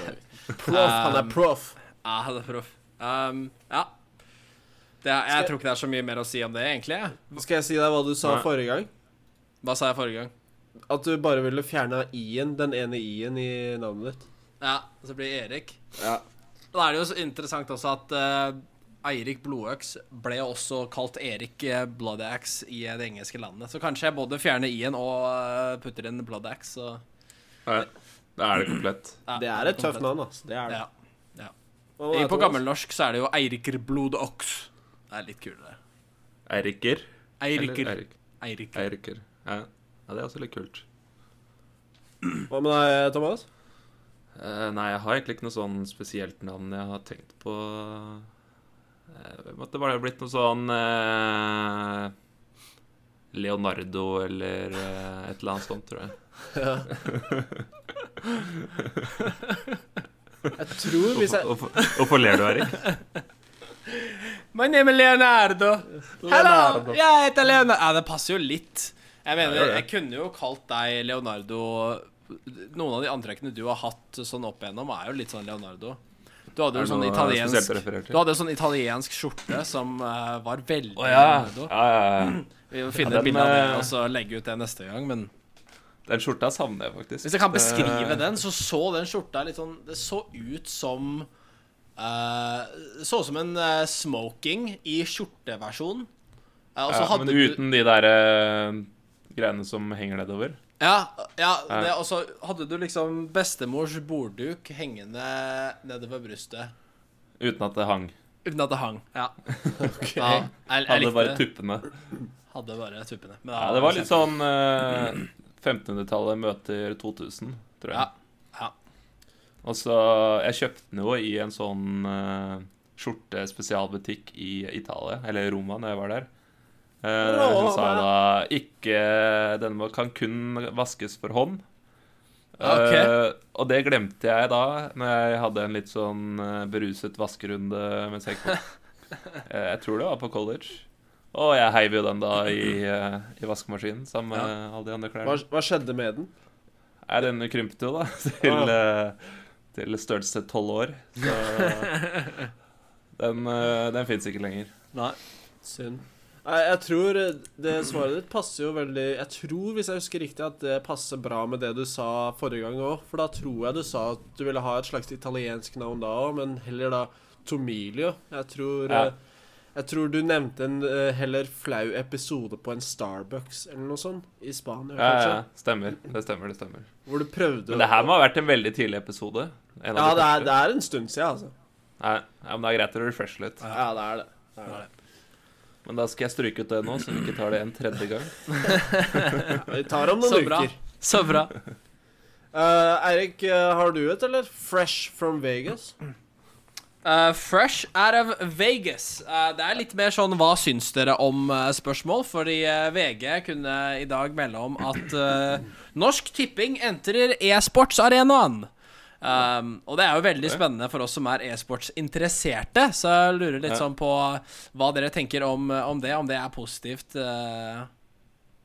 Speaker 3: Proff, Um, han er proff.
Speaker 2: ja, det er proff. Um, ja. Det er, jeg tror ikke det er så mye mer å si om det, egentlig. jeg.
Speaker 3: Skal jeg si deg hva du sa
Speaker 4: Nei.
Speaker 3: forrige gang?
Speaker 2: Hva sa jeg forrige gang?
Speaker 3: At du bare ville fjerne i-en, den ene i-en i navnet ditt.
Speaker 2: Ja, og så blir det Erik.
Speaker 3: Ja.
Speaker 2: Da er det jo så interessant også at eh, Eirik Blodøks ble også kalt Erik eh, Bloodaxe i det engelske landet. Så kanskje jeg både fjerner i-en og eh, putter inn Bloodaxe. så-
Speaker 4: Nei, Da er det komplett.
Speaker 2: Ja,
Speaker 3: Det er et tøft navn, altså. Det er det.
Speaker 2: Ja.
Speaker 3: Hva var det,
Speaker 2: På
Speaker 3: Thomas?
Speaker 2: gammelnorsk så er det jo Eiriker Blodøks. Det er litt kulere.
Speaker 4: Eiriker. Eller
Speaker 2: Eiriker.
Speaker 4: Eirik-
Speaker 2: Eiriker.
Speaker 4: Eiriker. Ja. ja, det er også litt kult.
Speaker 3: Hva med deg, Thomas?
Speaker 4: Eh, nei, jeg har egentlig ikke noe sånn spesielt navn jeg har tenkt på. Eh, det måtte bare blitt noe sånn eh, Leonardo eller eh, et eller annet sånt, tror jeg.
Speaker 3: Jeg tror hvis jeg
Speaker 4: Hvorfor- Hvorfor hvorfor ler du, Erik?
Speaker 2: My name is Leonardo. Hello, jeg heter Leonardo. Ja, det passer jo litt. Jeg mener,
Speaker 4: Ja, det gjør
Speaker 2: jeg
Speaker 4: det.
Speaker 2: kunne jo kalt deg Leonardo Noen av de antrekkene du har hatt sånn opp igjennom, er jo litt sånn Leonardo. Du hadde jo
Speaker 4: Er det
Speaker 2: sånn
Speaker 4: noe
Speaker 2: italiensk
Speaker 4: spesielt du refererer til?
Speaker 2: Du hadde jo sånn italiensk skjorte som eh, var veldig Leonardo.
Speaker 4: ja, ja, ja.
Speaker 2: Vi må finne
Speaker 4: Ja,
Speaker 2: et
Speaker 4: den,
Speaker 2: bilde av det
Speaker 4: eh,
Speaker 2: og så legge ut det neste gang, men
Speaker 4: Den skjorta savner jeg faktisk.
Speaker 2: hvis jeg kan beskrive
Speaker 4: Eh,
Speaker 2: den, så så den skjorta litt sånn Det så ut som eh, Så ut som en eh, smoking i skjorteversjon. Eh, og så
Speaker 4: Ja,
Speaker 2: hadde
Speaker 4: men
Speaker 2: du-
Speaker 4: uten de der eh, greiene som henger nedover.
Speaker 2: Ja, ja
Speaker 4: Ja.
Speaker 2: det, og så hadde du liksom bestemors bordduk hengende nedover brystet.
Speaker 4: Uten at det hang.
Speaker 2: Uten at det hang. Ja. ja jeg, jeg
Speaker 4: Hadde
Speaker 2: likte
Speaker 4: bare
Speaker 2: det.
Speaker 4: tuppene.
Speaker 2: Hadde bare tuppene. Men
Speaker 4: Ja, det var litt sånn eh, 1500-tallet møter 2000, tror jeg.
Speaker 2: Ja, ja.
Speaker 4: Og så Jeg kjøpte den jo i en sånn eh, skjortespesialbutikk i Italia, eller Roma, når jeg var der. Eh, så sa jeg da ikke Denne må- kan kun vaskes for hånd.
Speaker 2: Ok.
Speaker 4: Eh, og det glemte jeg da, når jeg hadde en litt sånn eh, beruset vaskerunde mens jeg gikk på. Eh, jeg tror det var på college. Og jeg heiv jo den da i, eh, i vaskemaskinen sammen med alle de andre
Speaker 3: Hva,
Speaker 4: klærne.
Speaker 3: hva skjedde med den?
Speaker 4: Nei, den krympte jo da til, eh, til størrelse tolv år. Så den, eh, den fins ikke lenger.
Speaker 2: Nei.
Speaker 3: Synd. Nei, jeg tror eh, det svaret ditt passer jo veldig Jeg tror, hvis jeg husker riktig, at det passer bra med det du sa forrige gang òg. For da tror jeg du sa at du ville ha et slags italiensk navn da òg, men heller da Tomilio. Jeg tror
Speaker 4: Ja.
Speaker 3: eh, Jeg tror du nevnte en eh, heller flau episode på en Starbucks eller noe sånt. I Spania,
Speaker 4: Ja,
Speaker 3: kanskje.
Speaker 4: ja, stemmer. Det stemmer. det stemmer
Speaker 3: Hvor du prøvde
Speaker 4: Men det her må ha vært en veldig tidlig episode. En av
Speaker 3: Ja,
Speaker 4: de
Speaker 3: det
Speaker 4: første.
Speaker 3: er, det er en stund siden, altså.
Speaker 4: Nei, ja, men det er greit å refreshe litt.
Speaker 3: Ja, det er det. det, er det.
Speaker 4: Men da skal jeg stryke ut det nå, så vi ikke tar det en tredje gang.
Speaker 3: Ja, vi tar om noen
Speaker 2: Så bra.
Speaker 3: uker.
Speaker 2: Så bra.
Speaker 3: Eh, Eirik, eh, har du et, eller? Fresh from Vegas?
Speaker 2: Eh, fresh out of Vegas. Eh, det er litt mer sånn 'hva syns dere om?'-spørsmål. fordi eh, VG kunne i dag melde om at eh, Norsk Tipping entrer e-sportsarenaen. Um, og det er jo veldig spennende for oss som er e-sportsinteresserte. Så jeg lurer litt sånn på hva dere tenker om, eh, om det, om det er positivt. eh,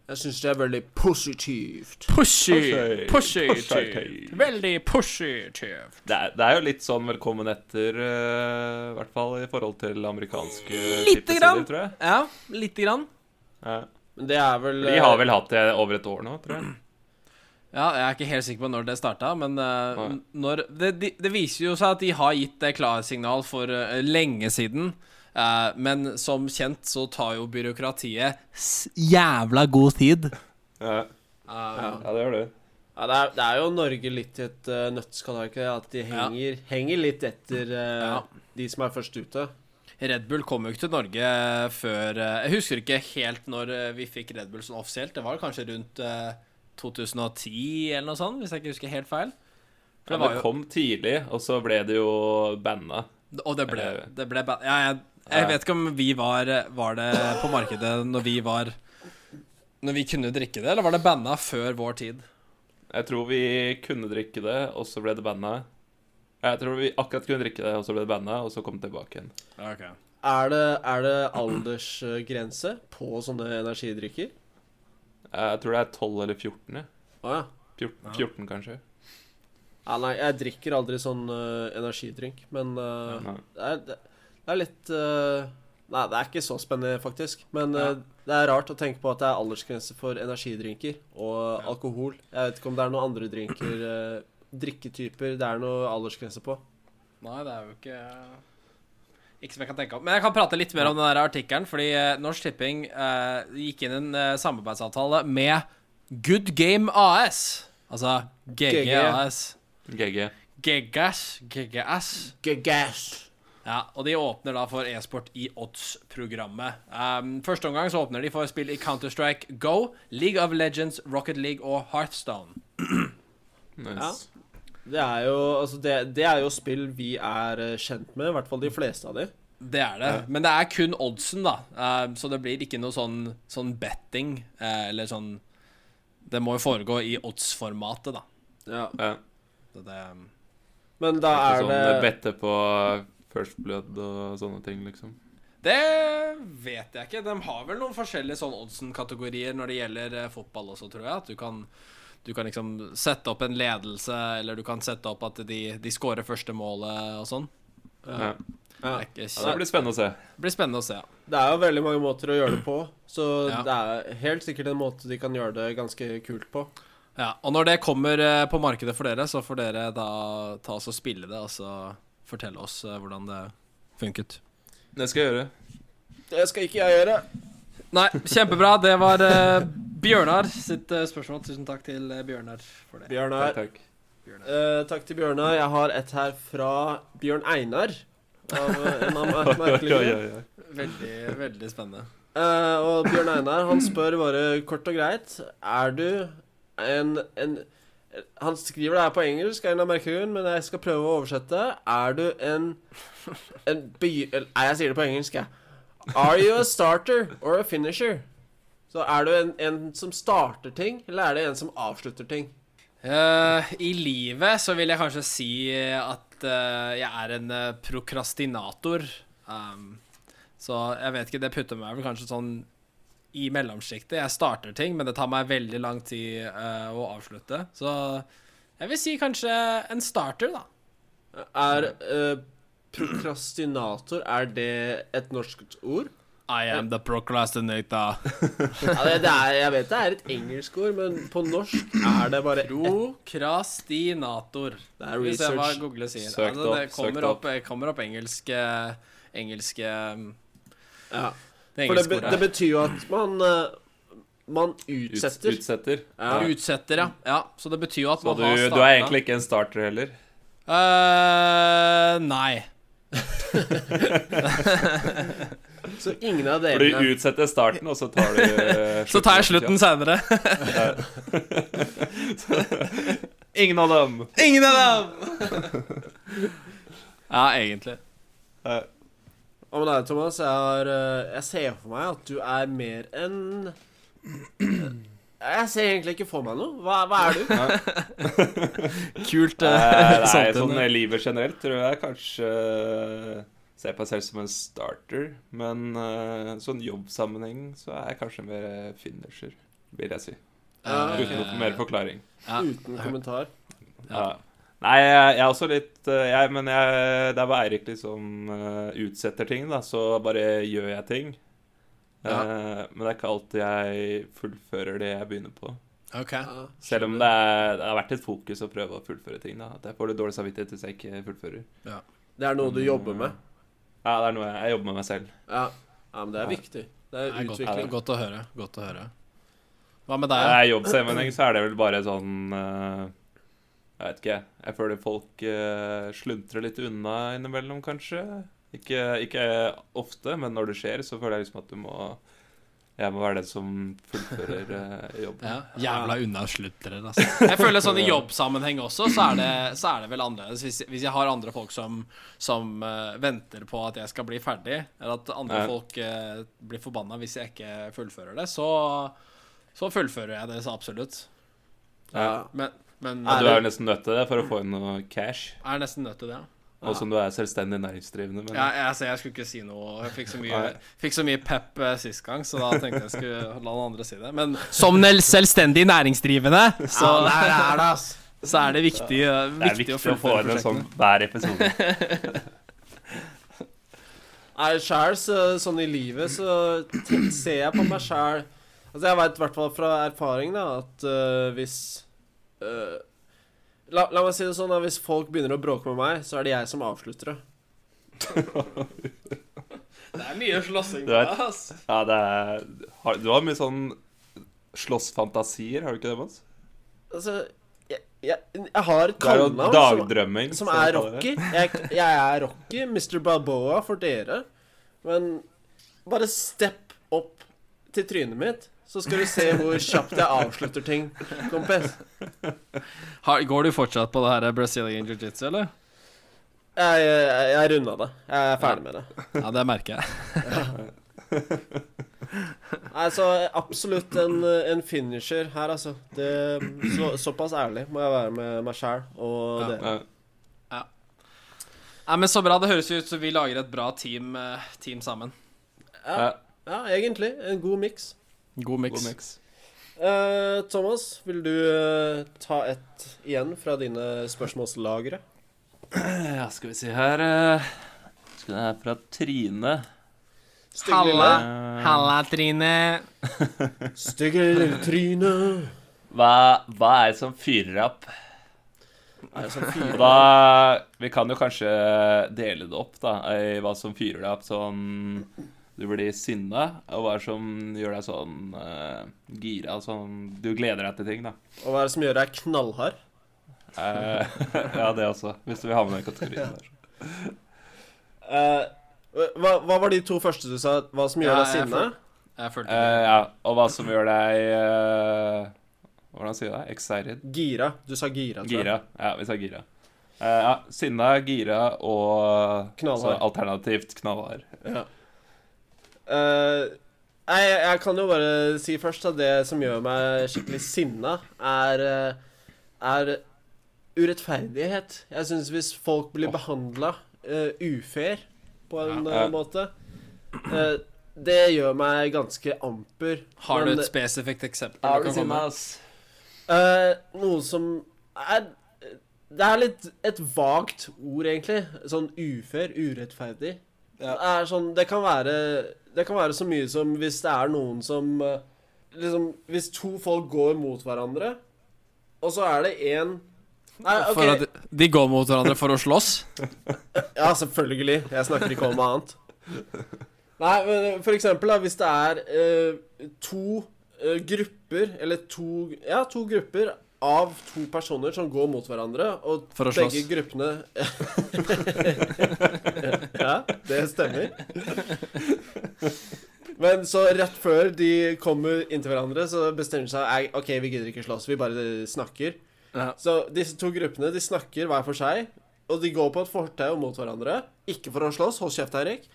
Speaker 3: Jeg syns det er veldig positivt.
Speaker 2: pushy.
Speaker 4: Pushy.
Speaker 2: Pushy. tøyt. Veldig pushy. tøyt.
Speaker 4: Det er, det er jo litt sånn velkommen etter, eh, i hvert fall i forhold til amerikanske
Speaker 2: Lite
Speaker 4: tippesider,
Speaker 2: grann.
Speaker 4: tror jeg.
Speaker 2: Ja, lite grann.
Speaker 4: Ja.
Speaker 3: Men det er vel
Speaker 4: De har vel hatt det over et år nå, tror jeg.
Speaker 2: Ja, Jeg er ikke helt sikker på når det starta, men eh,
Speaker 4: Nei.
Speaker 2: n- når det, de, det viser jo seg at de har gitt det klarsignal for eh, lenge siden. eh, men som kjent så tar jo byråkratiet s jævla god tid.
Speaker 4: Ja,
Speaker 2: Eh,
Speaker 4: ja det gjør det.
Speaker 3: ja, det, er, det er jo Norge litt i et uh, nøttskall, er det ikke det? At de henger, henger litt etter eh,
Speaker 2: Ja.
Speaker 3: de som er først ute.
Speaker 2: Eh, Red Bull kom jo ikke til Norge før eh, Jeg husker ikke helt når eh, vi fikk Red Bull sånn offisielt. Det var kanskje rundt eh, 2010 eller noe sånt, hvis jeg ikke husker helt feil. For
Speaker 4: Ja,
Speaker 2: det var
Speaker 4: det
Speaker 2: jo,
Speaker 4: kom tidlig, og så ble det jo banna.
Speaker 2: og det ble,
Speaker 4: eller-
Speaker 2: det ble ba- ja, jeg, jeg vet ikke om vi var, var det på markedet når vi var Når vi kunne drikke det, eller var det banna før vår tid?
Speaker 4: Jeg tror vi kunne drikke det, og så ble det banna. Jeg tror vi akkurat kunne drikke det, og så ble det banna, og så kom det tilbake igjen.
Speaker 3: Er det, er det aldersgrense på sånne energidrikker?
Speaker 4: Eh, Jeg tror det er 12 eller 14. jeg.
Speaker 3: Å ja.
Speaker 4: 14, 14 kanskje.
Speaker 3: ja. Nei, jeg drikker aldri sånn eh, energidrink, men eh,
Speaker 4: Nei.
Speaker 3: det, er, det, det er litt eh, Nei, det er ikke så spennende, faktisk. Men eh, det er rart å tenke på at det er aldersgrense for energidrinker og alkohol. Jeg vet ikke om det er noen andre drinker eh, Drikketyper det er noe aldersgrense på.
Speaker 2: Nei, det er jo ikke Ikke som jeg kan tenke om. Men jeg kan prate litt mer om den der artikkelen, fordi eh, Norsk Tipping eh, gikk inn i en eh, samarbeidsavtale med Good Game AS. Altså
Speaker 3: GG.
Speaker 2: GGAS.
Speaker 4: GG.
Speaker 2: GGAS. GGAS. Ja, og de åpner da for e-sport i odds-programmet. Um, første omgang så åpner de for spill i Counter-Strike Go, League of Legends, Rocket League og Hearthstone.
Speaker 4: Nice.
Speaker 3: Det er jo, altså det, det er jo spill vi er eh, kjent med, i hvert fall de fleste av de.
Speaker 2: Det er det. Men det er kun oddsen, da. Um, så det blir ikke noe sånn, sånn betting, eh, eller sånn Det må jo foregå i odds-formatet, da.
Speaker 4: Ja.
Speaker 2: Så det um,
Speaker 3: Men da
Speaker 4: Ikke
Speaker 3: er
Speaker 4: sånn eh,
Speaker 3: det
Speaker 4: bette på First Blood og sånne ting, liksom.
Speaker 2: Det vet jeg ikke. De har vel noen forskjellige sånn oddsen-kategorier når det gjelder eh, fotball også, tror jeg. At du kan, du kan liksom sette opp en ledelse, eller du kan sette opp at de, de scorer første målet og sånn.
Speaker 4: Ja.
Speaker 2: Det, er ikke
Speaker 4: Ja, det
Speaker 2: kjent.
Speaker 4: blir spennende å se.
Speaker 2: det blir spennende å se. ja.
Speaker 3: Det er jo veldig mange måter å gjøre det på, så
Speaker 2: Ja.
Speaker 3: det er helt sikkert en måte de kan gjøre det ganske kult på.
Speaker 2: Ja, og når det kommer eh, på markedet for dere, så får dere da ta oss og spille det, og så fortelle oss eh, hvordan det funket.
Speaker 4: Det skal jeg gjøre.
Speaker 3: Det skal ikke jeg gjøre.
Speaker 2: Nei, kjempebra. Det var eh, Bjørnar sitt eh, spørsmål. Tusen takk til eh, Bjørnar for det.
Speaker 3: Bjørnar.
Speaker 4: Takk, takk.
Speaker 3: Eh, takk til Bjørnar. Jeg har et her fra Bjørn Einar. av eh, en av mer-
Speaker 4: Oi, oi,
Speaker 3: merkelige
Speaker 4: oi,
Speaker 3: grunner.
Speaker 4: oi.
Speaker 2: Veldig, veldig spennende.
Speaker 3: Eh, og Bjørn Einar han spør bare kort og greit Er du en, en Han skriver det her på engelsk, av en av merkelig grunn, men jeg skal prøve å oversette. Er du en, en begy... eller, Nei, jeg sier det på engelsk, jeg. Are you a starter or a finisher? Så er du en, en som starter ting, eller er det en som avslutter ting?
Speaker 2: Eh, I livet så vil jeg kanskje si at eh, jeg er en eh, prokrastinator. Um, så jeg vet ikke, det putter meg vel kanskje sånn i mellomsjiktet. Jeg starter ting, men det tar meg veldig lang tid eh, å avslutte. Så jeg vil si kanskje en starter, da.
Speaker 3: Er eh, prokrastinator Er det et norsk ord?
Speaker 2: I am the procrastinator.
Speaker 3: Ja, det, det er, jeg vet det er et engelsk ord, men på norsk er det bare ett
Speaker 2: Prokrastinator.
Speaker 3: Det er
Speaker 2: Vi ser hva
Speaker 3: research.
Speaker 2: Google sier.
Speaker 4: Søkt
Speaker 2: Altså, det
Speaker 4: opp,
Speaker 2: kommer
Speaker 4: søkt
Speaker 2: opp, kommer opp engelske, engelske um,
Speaker 3: Ja.
Speaker 2: Det
Speaker 3: For det,
Speaker 2: engelske
Speaker 3: be,
Speaker 2: ordet.
Speaker 3: det betyr jo at man eh, Man utsetter.
Speaker 4: Ut, utsetter.
Speaker 3: Ja.
Speaker 2: Utsetter, ja. ja. Så det betyr jo at
Speaker 4: Så
Speaker 2: man
Speaker 4: du,
Speaker 2: har
Speaker 4: du er egentlig ikke en starter heller?
Speaker 2: Eh, Nei.
Speaker 3: Så ingen av
Speaker 4: For
Speaker 3: delene
Speaker 4: du utsetter starten, og så tar du eh,
Speaker 2: Så tar jeg slutten seinere.
Speaker 4: Ingen av dem!
Speaker 2: Ingen av dem! ja, egentlig.
Speaker 3: Hva med deg, Thomas? Jeg, har, eh, jeg ser for meg at du er mer enn eh, Jeg ser egentlig ikke for meg noe. Hva, hva er du?
Speaker 2: Kult.
Speaker 4: Eh,
Speaker 2: eh,
Speaker 4: Nei, sånn
Speaker 2: samfunn.
Speaker 4: i livet generelt tror jeg kanskje eh, ser på meg selv som en starter, men eh, sånn jobbsammenheng så er jeg kanskje mer eh, finisher, vil jeg si.
Speaker 2: Eh,
Speaker 4: Uten noe mer forklaring.
Speaker 2: ja.
Speaker 3: Uten kommentar.
Speaker 4: Ja. Nei, jeg, jeg er også litt eh, jeg, Men jeg, det er bare Eirik liksom eh, utsetter ting, da. Så bare gjør jeg ting.
Speaker 2: Ja.
Speaker 4: Eh, men det er ikke alltid jeg fullfører det jeg begynner på.
Speaker 2: OK.
Speaker 3: Ja.
Speaker 4: Selv om det, er, det har vært et fokus å prøve å fullføre ting. da At Jeg får litt dårlig samvittighet hvis jeg ikke fullfører.
Speaker 3: Det er noe du jobber med.
Speaker 4: Ja, det er noe jeg, jeg jobber med meg selv.
Speaker 3: Ja, ja men det er viktig. Det er
Speaker 2: Det er godt,
Speaker 3: utvikling.
Speaker 2: godt å høre. Godt å høre. Hva med deg?
Speaker 4: I jobbsammenheng så er det vel bare sånn eh, Jeg vet ikke. Jeg føler folk eh, sluntrer litt unna innimellom, kanskje. Ikke, ikke ofte, men når det skjer, så føler jeg liksom at du må Jeg må være den som fullfører eh, jobben.
Speaker 2: Ja, jævla unnaslutrere, altså. Jeg føler sånn i jobbsammenheng også, så er det, så er det vel annerledes. Hvis, hvis jeg har andre folk som, som eh, venter på at jeg skal bli ferdig, eller at andre
Speaker 4: Ja.
Speaker 2: folk eh, blir forbanna hvis jeg ikke fullfører det, så, så fullfører jeg det så absolutt.
Speaker 3: Ja.
Speaker 2: Men, men
Speaker 4: Men
Speaker 3: Ja,
Speaker 4: Du er jo nesten nødt til det for å få inn noe cash.
Speaker 2: jeg er nesten nødt til det. ja.
Speaker 4: Og som du er selvstendig næringsdrivende. Men
Speaker 2: Ja, jeg, altså, jeg skulle ikke si noe. Jeg fikk så mye,
Speaker 4: Nei.
Speaker 2: fikk så mye pep eh, sist gang, så da tenkte jeg skulle la noen andre si det. Men som nel- selvstendig næringsdrivende, så
Speaker 3: Ja, der er det, ass.
Speaker 2: så er det viktig,
Speaker 4: det er viktig å, få inn en sånn hver episode.
Speaker 3: Nei, sjæl, så, sånn i livet, så te- ser jeg på meg sjæl Altså, jeg veit i hvert fall fra erfaring, da, at øh, hvis øh, la, la meg si det sånn, da. Hvis folk begynner å bråke med meg, så er det jeg som avslutter det.
Speaker 2: Det er mye slåssing
Speaker 4: Du vet. Ja, det er, har, du har mye sånn slåssfantasier, har du ikke det, Mons?
Speaker 3: Altså, jeg, jeg, jeg har et
Speaker 4: Det er jo
Speaker 3: kallenavn som,
Speaker 4: dagdrømming.
Speaker 3: som
Speaker 4: så
Speaker 3: er
Speaker 4: kaller det.
Speaker 3: Rocky. Jeg, jeg er Rocky, Mr. Balboa for dere. Men bare step opp til trynet mitt, så skal du se hvor kjapt jeg avslutter ting, kompis.
Speaker 2: Har, går du fortsatt på det her Brazilian jiu-jitsu, eller?
Speaker 3: Jeg, jeg, jeg runda det. Jeg er ferdig med det.
Speaker 2: Ja, det merker jeg.
Speaker 3: Altså, absolutt en, en finisher her, altså. Det, så, såpass ærlig må jeg være med meg sjæl og
Speaker 2: Ja.
Speaker 3: dere.
Speaker 4: Ja.
Speaker 2: Nei, men Så bra. Det høres ut som vi lager et bra team, eh, team sammen.
Speaker 3: Ja, ja, egentlig. En god miks.
Speaker 2: God
Speaker 4: God
Speaker 2: miks.
Speaker 4: mix.
Speaker 3: Eh, Thomas, vil du eh, ta et igjen fra dine spørsmålslagre?
Speaker 4: Ja, skal vi se her eh, Skal det her fra Trine.
Speaker 3: Stygge lille,
Speaker 2: Halla.
Speaker 4: Eh.
Speaker 2: Halla, Trine.
Speaker 3: stygge lille tryne.
Speaker 4: Hva, hva er det som fyrer opp?
Speaker 3: Er det sånn
Speaker 4: Og
Speaker 3: fire?
Speaker 4: da Vi kan jo kanskje dele det opp, da, i hva som fyrer deg opp sånn Du blir sinna, og hva som gjør deg sånn eh, gira, sånn Du gleder deg til ting, da.
Speaker 3: Og hva er det som gjør deg knallhard?
Speaker 4: Eh, ja, det også. Hvis du vil ha med den kategorien der.
Speaker 3: Eh, hva, hva var de to første du sa? Hva som gjør
Speaker 2: Ja,
Speaker 3: deg
Speaker 2: jeg
Speaker 3: sinne?
Speaker 2: får- Jeg følte
Speaker 4: Eh, ja, og hva som gjør deg eh, Hvordan sier du det? Excited?
Speaker 3: Gira. Du sa gira. tror jeg.
Speaker 4: Gira. Ja, vi sa gira. Eh, ja, sinna, gira og
Speaker 3: Knallhard.
Speaker 4: så alternativt knallhard.
Speaker 3: Eh, Nei, jeg, jeg kan jo bare si først at det som gjør meg skikkelig sinna, er, eh, er urettferdighet. Jeg syns hvis folk blir behandla ufair på en
Speaker 4: Ja.
Speaker 3: eh, måte eh, Det gjør meg ganske amper.
Speaker 2: Har du
Speaker 3: Men,
Speaker 2: et spesifikt eksempel? du kan komme med?
Speaker 3: eh, noe som er Det er litt et vagt ord, egentlig. Sånn ufair, urettferdig. Det er sånn Det kan være Det kan være så mye som hvis det er noen som eh, Liksom Hvis to folk går mot hverandre, og så er det én Nei, OK.
Speaker 2: For at de går mot hverandre for å slåss?
Speaker 3: Ja, selvfølgelig. Jeg snakker ikke om annet. Nei, men for eksempel da, hvis det er eh, to eh, grupper, eller to Ja, to grupper av to personer som går mot hverandre, og
Speaker 2: For å
Speaker 3: begge
Speaker 2: slåss.
Speaker 3: gruppene Ja, det stemmer. Men så rett før de kommer inntil hverandre, så bestemmer de seg Nei, OK, vi gidder ikke slåss, vi bare snakker.
Speaker 2: Ja.
Speaker 3: Så disse to gruppene de snakker hver for seg, og de går på et fortau mot hverandre. Ikke for å slåss, hold kjeft, Eirik.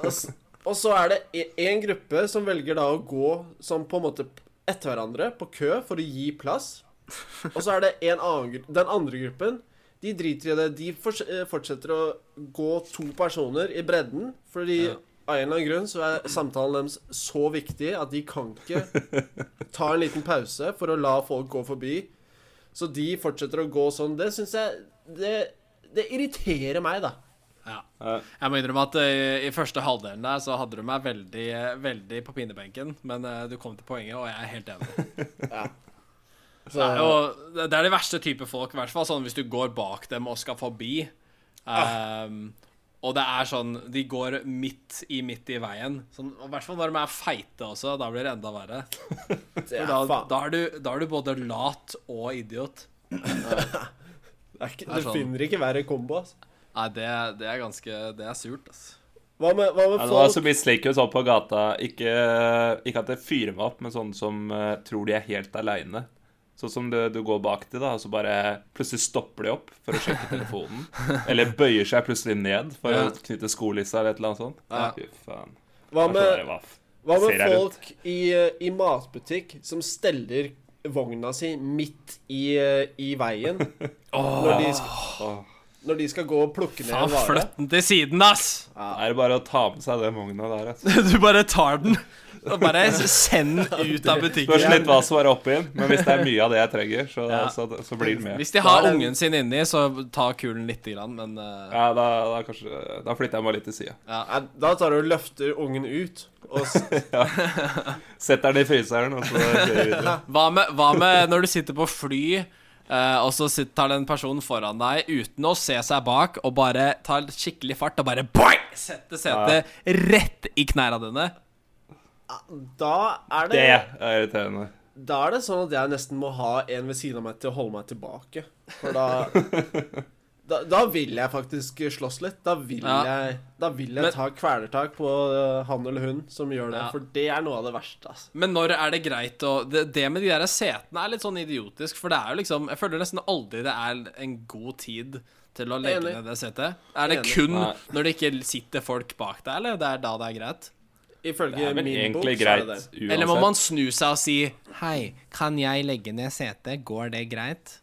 Speaker 3: Og s- Og så er det én gruppe som velger da å gå som på en måte etter hverandre på kø for å gi plass. Og så er det en annen, gru- den andre gruppen. De driter i det. De fors- eh, fortsetter å gå to personer i bredden. Fordi av en eller annen grunn så er samtalen deres så viktig at de kan ikke ta en liten pause for å la folk gå forbi. Så de fortsetter å gå sånn. Det syns jeg det, det irriterer meg, da.
Speaker 2: Ja. Jeg må innrømme at eh, i første halvdelen der så hadde du meg veldig, eh, veldig på pinebenken, men eh, du kom til poenget, og jeg er helt enig.
Speaker 3: Så,
Speaker 2: Det er jo- det er de verste type folk, i hvert fall sånn hvis du går bak dem og skal forbi. Ehm, og det er sånn De går midt i midt i veien. Sånn, og I hvert fall når de er feite også. Da blir det enda verre.
Speaker 3: det, er,
Speaker 2: Da,
Speaker 3: faen,
Speaker 2: da, er, du, da er du både lat og idiot.
Speaker 3: det, er ikke,
Speaker 2: det er
Speaker 3: du
Speaker 2: sånn.
Speaker 3: finner ikke verre kombo, altså. ass.
Speaker 2: Nei, det, det er ganske Det er surt, altså.
Speaker 3: Hva med, hva med
Speaker 4: Ja, det var
Speaker 3: folk
Speaker 4: så misliker jo sånn på gata ikke, ikke at det fyrer meg opp, men sånne som eh, tror de er helt aleine. Sånn som du, du går bak til, da, og så bare plutselig stopper de opp for å sjekke telefonen. Eller bøyer seg plutselig ned for
Speaker 2: Ja.
Speaker 4: å knytte skolissa eller et eller annet sånt. Fy faen.
Speaker 3: Hva
Speaker 4: Jeg tror
Speaker 3: med,
Speaker 4: det var f-
Speaker 3: hva med
Speaker 4: ser jeg rundt.
Speaker 3: folk i, eh, i matbutikk som steller vogna si midt i, eh, i veien når, de skal,
Speaker 4: Åh.
Speaker 3: når de skal gå og plukke ned
Speaker 2: Faen,
Speaker 3: en vare?
Speaker 2: flytt den til siden, ass!
Speaker 4: Da er det bare å ta med seg den vogna der, altså.
Speaker 2: Du bare tar den og bare send den ut av
Speaker 4: Du har
Speaker 2: butikken.
Speaker 4: slett hva som er oppi den, men hvis det er mye av det jeg trenger, så, så, så blir den med.
Speaker 2: Hvis de har ungen sin inni, så ta kulen lite grann, men eh,
Speaker 4: Ja, da, da, kanskje, da flytter jeg meg litt til sida.
Speaker 3: Nei, Da tar du og løfter ungen ut. Og s
Speaker 4: Setter den i fryseren, og så kjører vi videre.
Speaker 2: hva, med, hva med når du sitter på fly, eh, og så sitter, tar den personen foran deg uten å se seg bak, og bare tar skikkelig fart og bare boing! Setter setet rett i knærne dine.
Speaker 3: da, er
Speaker 4: Det
Speaker 3: det,
Speaker 4: er irriterende.
Speaker 3: da er det sånn at jeg nesten må ha en ved siden av meg til å holde meg tilbake. For da Da, da vil jeg faktisk slåss litt. Da vil
Speaker 2: Ja.
Speaker 3: jeg, da vil jeg
Speaker 2: Men-
Speaker 3: ta kvelertak på eh, han eller hun som gjør det.
Speaker 2: Ja.
Speaker 3: For det er noe av det verste. Altså.
Speaker 2: Men når er det greit å Det, det med de der setene er litt sånn idiotisk, for det er jo liksom Jeg føler nesten aldri det er en god tid til å legge
Speaker 3: Enig.
Speaker 2: ned det setet. Er det
Speaker 3: Enig.
Speaker 2: kun
Speaker 4: Nei.
Speaker 2: når det ikke sitter folk bak deg, eller? Det er da det er greit?
Speaker 3: Ifølge
Speaker 4: Det er vel
Speaker 3: min bok
Speaker 4: egentlig
Speaker 3: så er
Speaker 4: greit
Speaker 3: det det.
Speaker 4: uansett.
Speaker 2: Eller må man snu seg og si Hei, kan jeg legge ned setet? Går det greit?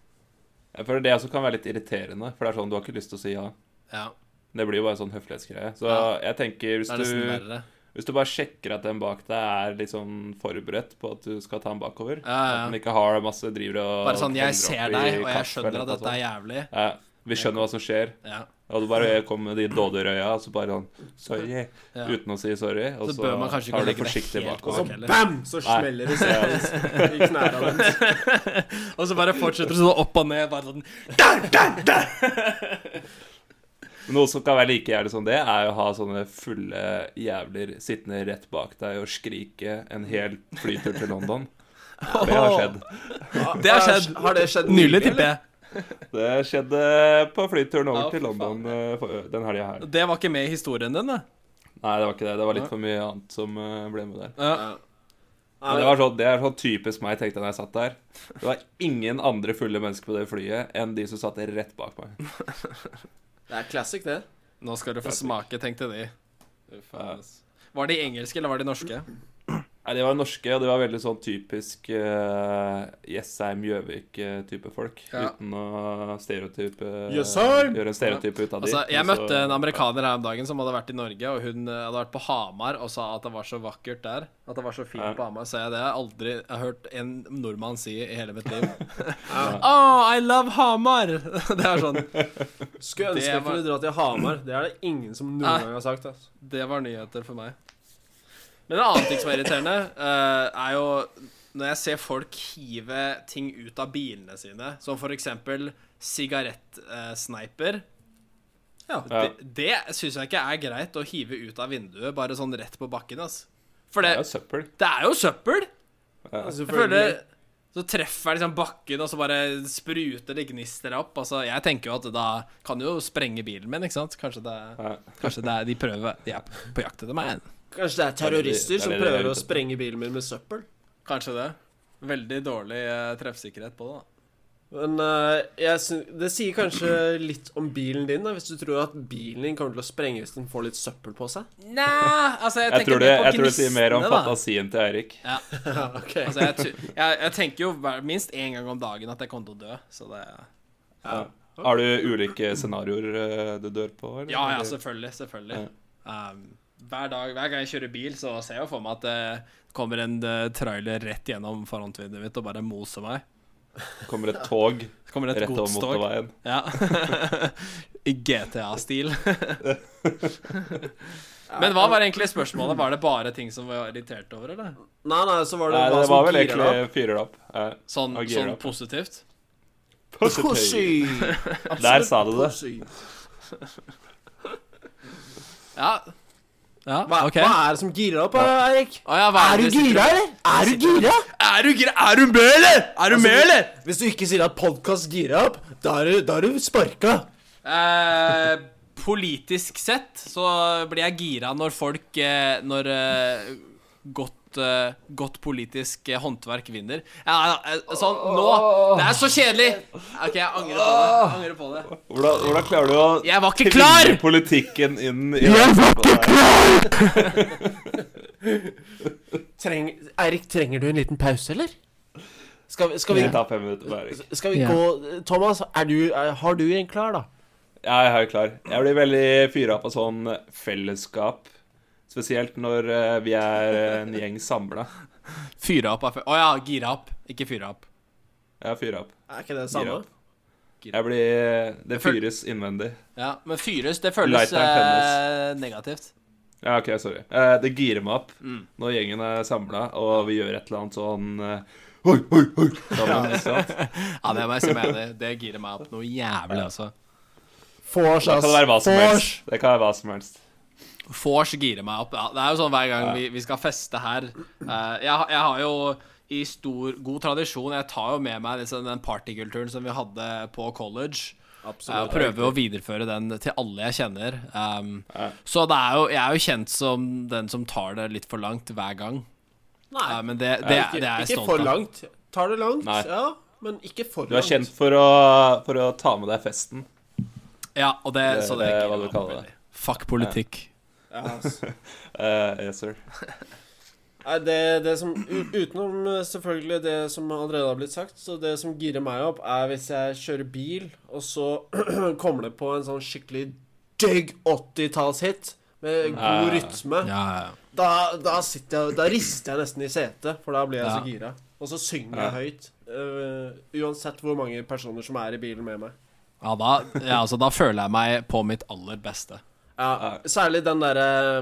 Speaker 4: Jeg føler det også kan være litt irriterende, for det er sånn du har ikke lyst til å si ja.
Speaker 2: Ja.
Speaker 4: Det blir jo bare sånn høflighetsgreie. Så
Speaker 2: Ja.
Speaker 4: jeg tenker hvis
Speaker 2: Det er nesten
Speaker 4: du,
Speaker 2: verre.
Speaker 4: hvis du bare sjekker at den bak deg er liksom forberedt på at du skal ta den bakover
Speaker 2: Ja, ja.
Speaker 4: At den ikke har masse driver og
Speaker 2: Bare sånn Jeg
Speaker 4: heller
Speaker 2: ser
Speaker 4: opp i
Speaker 2: deg, og jeg
Speaker 4: kaffe eller
Speaker 2: skjønner at
Speaker 4: noe
Speaker 2: dette er
Speaker 4: sånt.
Speaker 2: jævlig.
Speaker 4: ja, Vi skjønner hva som skjer.
Speaker 2: Ja.
Speaker 4: Og du bare kommer med de dådyrøya og så bare sånn Sorry.
Speaker 2: Ja.
Speaker 4: Uten å si sorry. Og
Speaker 2: Så
Speaker 4: så,
Speaker 2: bør man kanskje ikke
Speaker 4: tar du
Speaker 2: legge det
Speaker 4: forsiktig
Speaker 2: helt
Speaker 4: bakover.
Speaker 2: bak heller.
Speaker 3: Bam! Så smeller det seg i knærne deres.
Speaker 2: Og så bare fortsetter du sånn opp og ned, bare sånn der, der, der.
Speaker 4: Noe som kan være like jævlig som det, er å ha sånne fulle jævler sittende rett bak deg og skrike en hel flytur til London. Det har skjedd.
Speaker 2: Det har skjedd
Speaker 3: Har det skjedd
Speaker 2: nylig, tipper jeg.
Speaker 4: Det skjedde på flyturen over
Speaker 2: Ja,
Speaker 4: til
Speaker 2: fy
Speaker 4: London eh, for- den helga her.
Speaker 2: Det var ikke med i historien din, det.
Speaker 4: Nei, det var ikke det. Det var litt for mye annet som eh, ble med der.
Speaker 2: Ja.
Speaker 4: Men det, var sånn, det er sånn typisk meg, tenkte jeg da jeg satt der. Det var ingen andre fulle mennesker på det flyet enn de som satt rett bak meg.
Speaker 3: Det er classic, det.
Speaker 2: Nå skal du få smake, tenkte de. Var de engelske, eller var de norske?
Speaker 4: Nei, De var norske, og de var veldig sånn typisk eh, Jessheim, Gjøvik-type folk.
Speaker 2: Ja.
Speaker 4: Uten å stereotype
Speaker 3: Jessheim!
Speaker 4: gjøre en stereotype ut av de.
Speaker 2: Altså, jeg
Speaker 4: Men så-
Speaker 2: møtte en amerikaner her om dagen som hadde vært i Norge, og hun eh, hadde vært på Hamar og sa at det var så vakkert der. At det var så fint
Speaker 4: Ja.
Speaker 2: på Hamar. Så jeg det har jeg aldri jeg har hørt en nordmann si i hele mitt liv. oh, I love Hamar! det er sånn
Speaker 3: Skulle
Speaker 2: Det
Speaker 3: ønske jeg
Speaker 2: var-
Speaker 3: kunne dra til Hamar. Det er det ingen som noen
Speaker 2: Nei.
Speaker 3: gang har sagt. Altså.
Speaker 2: Det var nyheter for meg. Men en annen ting som er irriterende, eh, er jo når jeg ser folk hive ting ut av bilene sine, som for eksempel sigarettsneiper. ja,
Speaker 4: Ja.
Speaker 2: Det, det syns jeg ikke er greit å hive ut av vinduet, bare sånn rett på bakken, ass. For
Speaker 4: Det
Speaker 2: det,
Speaker 4: er jo søppel.
Speaker 2: det er jo søppel! Jeg
Speaker 3: Selvfølgelig.
Speaker 2: føler Så treffer jeg liksom bakken, og så bare spruter det gnister opp. Altså, jeg tenker jo at da kan jo sprenge bilen min, ikke sant? Kanskje det,
Speaker 4: Ja.
Speaker 2: kanskje det er de prøver De er på jakt etter meg.
Speaker 3: Kanskje det er
Speaker 4: Det er det
Speaker 3: terrorister
Speaker 4: de-
Speaker 3: som
Speaker 4: det er det de er
Speaker 3: prøver
Speaker 4: ute
Speaker 3: å
Speaker 4: etter.
Speaker 3: sprenge bilen min med søppel.
Speaker 2: Kanskje det. Veldig dårlig eh, treffsikkerhet på det, da.
Speaker 3: Men eh, jeg syn- det sier kanskje litt om bilen din, da, hvis du tror at bilen din kommer til å sprenge hvis den får litt søppel på seg.
Speaker 2: Nei, altså jeg,
Speaker 4: Jeg
Speaker 2: tenker
Speaker 4: tror, det,
Speaker 2: mer på
Speaker 4: jeg tror det sier mer om
Speaker 2: gnistene, da.
Speaker 4: fantasien til Eirik.
Speaker 2: Ja,
Speaker 3: Ok.
Speaker 2: altså jeg, tu- jeg, jeg tenker jo hver- minst én gang om dagen at jeg kommer til å dø, så det
Speaker 4: Har du ulike scenarioer eh, du dør på? Eller?
Speaker 2: Ja ja, altså- selvfølgelig. Selvfølgelig. Um, hver dag, hver gang jeg kjører bil, så ser jeg jo for meg at det kommer en eh, trailer rett gjennom frontvinduet mitt og bare moser meg.
Speaker 4: Kommer et tog
Speaker 2: Så kommer det et
Speaker 4: rett over
Speaker 2: godstog.
Speaker 4: motorveien.
Speaker 2: Ja. I GTA-stil. Men hva var egentlig spørsmålet? Var det bare ting som var irritert over, eller?
Speaker 3: Nei, nei, så var det
Speaker 4: Nei,
Speaker 3: hva
Speaker 4: det
Speaker 3: som
Speaker 4: var vel
Speaker 3: girer deg
Speaker 4: egentlig fyrer det opp. Ja.
Speaker 2: Sånn,
Speaker 4: Og gear
Speaker 2: sånn
Speaker 4: up.
Speaker 2: positivt?
Speaker 3: Pussy!
Speaker 4: Der sa du det.
Speaker 3: Pussy.
Speaker 2: Ja. Ja,
Speaker 3: Hva,
Speaker 2: OK.
Speaker 3: hva er det som girer deg opp, Eirik?
Speaker 2: Å ja, hva
Speaker 3: Er du
Speaker 2: det sitter-
Speaker 3: gira, eller? Er du gira?
Speaker 2: Er du gira? Er du med, eller? Er Altså, du med, eller?
Speaker 3: Hvis du ikke sier at podkast girer deg opp, da er du, da er du sparka.
Speaker 2: Eh, politisk sett så blir jeg gira når folk eh, Når eh, godt, eh, godt politisk eh, håndverk vinner. Ja, ja, eh, sånn, nå Det er så kjedelig! OK, jeg angrer på det. Jeg angrer på det.
Speaker 4: Hvordan, hvordan klarer du å
Speaker 2: Jeg var ikke klar!
Speaker 4: tvinge politikken inn i Jeg var ikke klar!
Speaker 3: Treng, Eirik, trenger du en liten pause, eller? Skal, vi- skal vi
Speaker 4: Vi tar fem minutter på Eirik.
Speaker 3: Skal vi gå Thomas, er du, er, har du en klar, da?
Speaker 4: Jeg er jo klar. Jeg blir veldig fyra på sånn fellesskap. Spesielt når eh, vi er en gjeng samla.
Speaker 2: Fyre opp. er fe- Å ja, gira opp. Ikke fyre opp.
Speaker 4: Jeg er fyra opp.
Speaker 3: Er ikke det
Speaker 4: Gir opp. Jeg blir Det fyres innvendig.
Speaker 2: Ja, Men fyres, det føles
Speaker 4: Lighteren
Speaker 2: eh, negativt.
Speaker 4: Ja, OK, sorry. Eh, det girer meg opp når gjengen er samla, og vi gjør et eller annet sånn eh, Hoi, hoi, hoi! Sammen, ikke sant?
Speaker 2: Ja, det må jeg si meg enig i. Det girer meg opp noe jævlig, altså.
Speaker 3: Fors,
Speaker 4: Da
Speaker 3: ass.
Speaker 4: kan det være hva som
Speaker 3: Fors.
Speaker 4: helst. Det kan være hva som helst.
Speaker 2: Vors girer meg opp. Ja, det er jo sånn hver gang vi, vi skal feste her eh, jeg, har- jeg har jo i stor, god tradisjon Jeg tar jo med meg liksom, den partykulturen som vi hadde på college. eh, og prøver jo å videreføre den til alle jeg kjenner. Um, Så det er jo, jeg er jo kjent som den som tar det litt for langt hver gang.
Speaker 3: Nei,
Speaker 2: Eh, men det, det,
Speaker 3: ikke,
Speaker 2: det er jeg
Speaker 3: ikke
Speaker 2: stolt
Speaker 3: for
Speaker 2: av.
Speaker 3: langt. Tar det langt,
Speaker 4: Nei.
Speaker 3: ja, men ikke for langt.
Speaker 4: Du er kjent for å, for å ta med deg festen.
Speaker 2: Ja, og det,
Speaker 4: Det-
Speaker 2: så
Speaker 4: det
Speaker 2: det
Speaker 4: er
Speaker 2: girer
Speaker 4: hva
Speaker 2: meg
Speaker 4: du
Speaker 2: opp
Speaker 4: kaller det.
Speaker 2: veldig. Fuck politikk.
Speaker 3: Ja, ass.
Speaker 4: Eh, yes, sir.
Speaker 3: Nei, det, det som, u- utenom eh, selvfølgelig det som allerede har blitt sagt, så det som girer meg opp, er hvis jeg kjører bil, og så kommer det på en sånn skikkelig digg 80-tallshit med god
Speaker 4: Ja.
Speaker 3: rytme.
Speaker 2: Ja, ja, ja.
Speaker 3: Da, da, sitter jeg, da rister jeg nesten i setet, for da blir jeg så gira. Og så synger jeg høyt, eh, uansett hvor mange personer som er i bilen med meg.
Speaker 2: ja, da, ja altså, da føler jeg meg på mitt aller beste.
Speaker 3: Ja, særlig den derre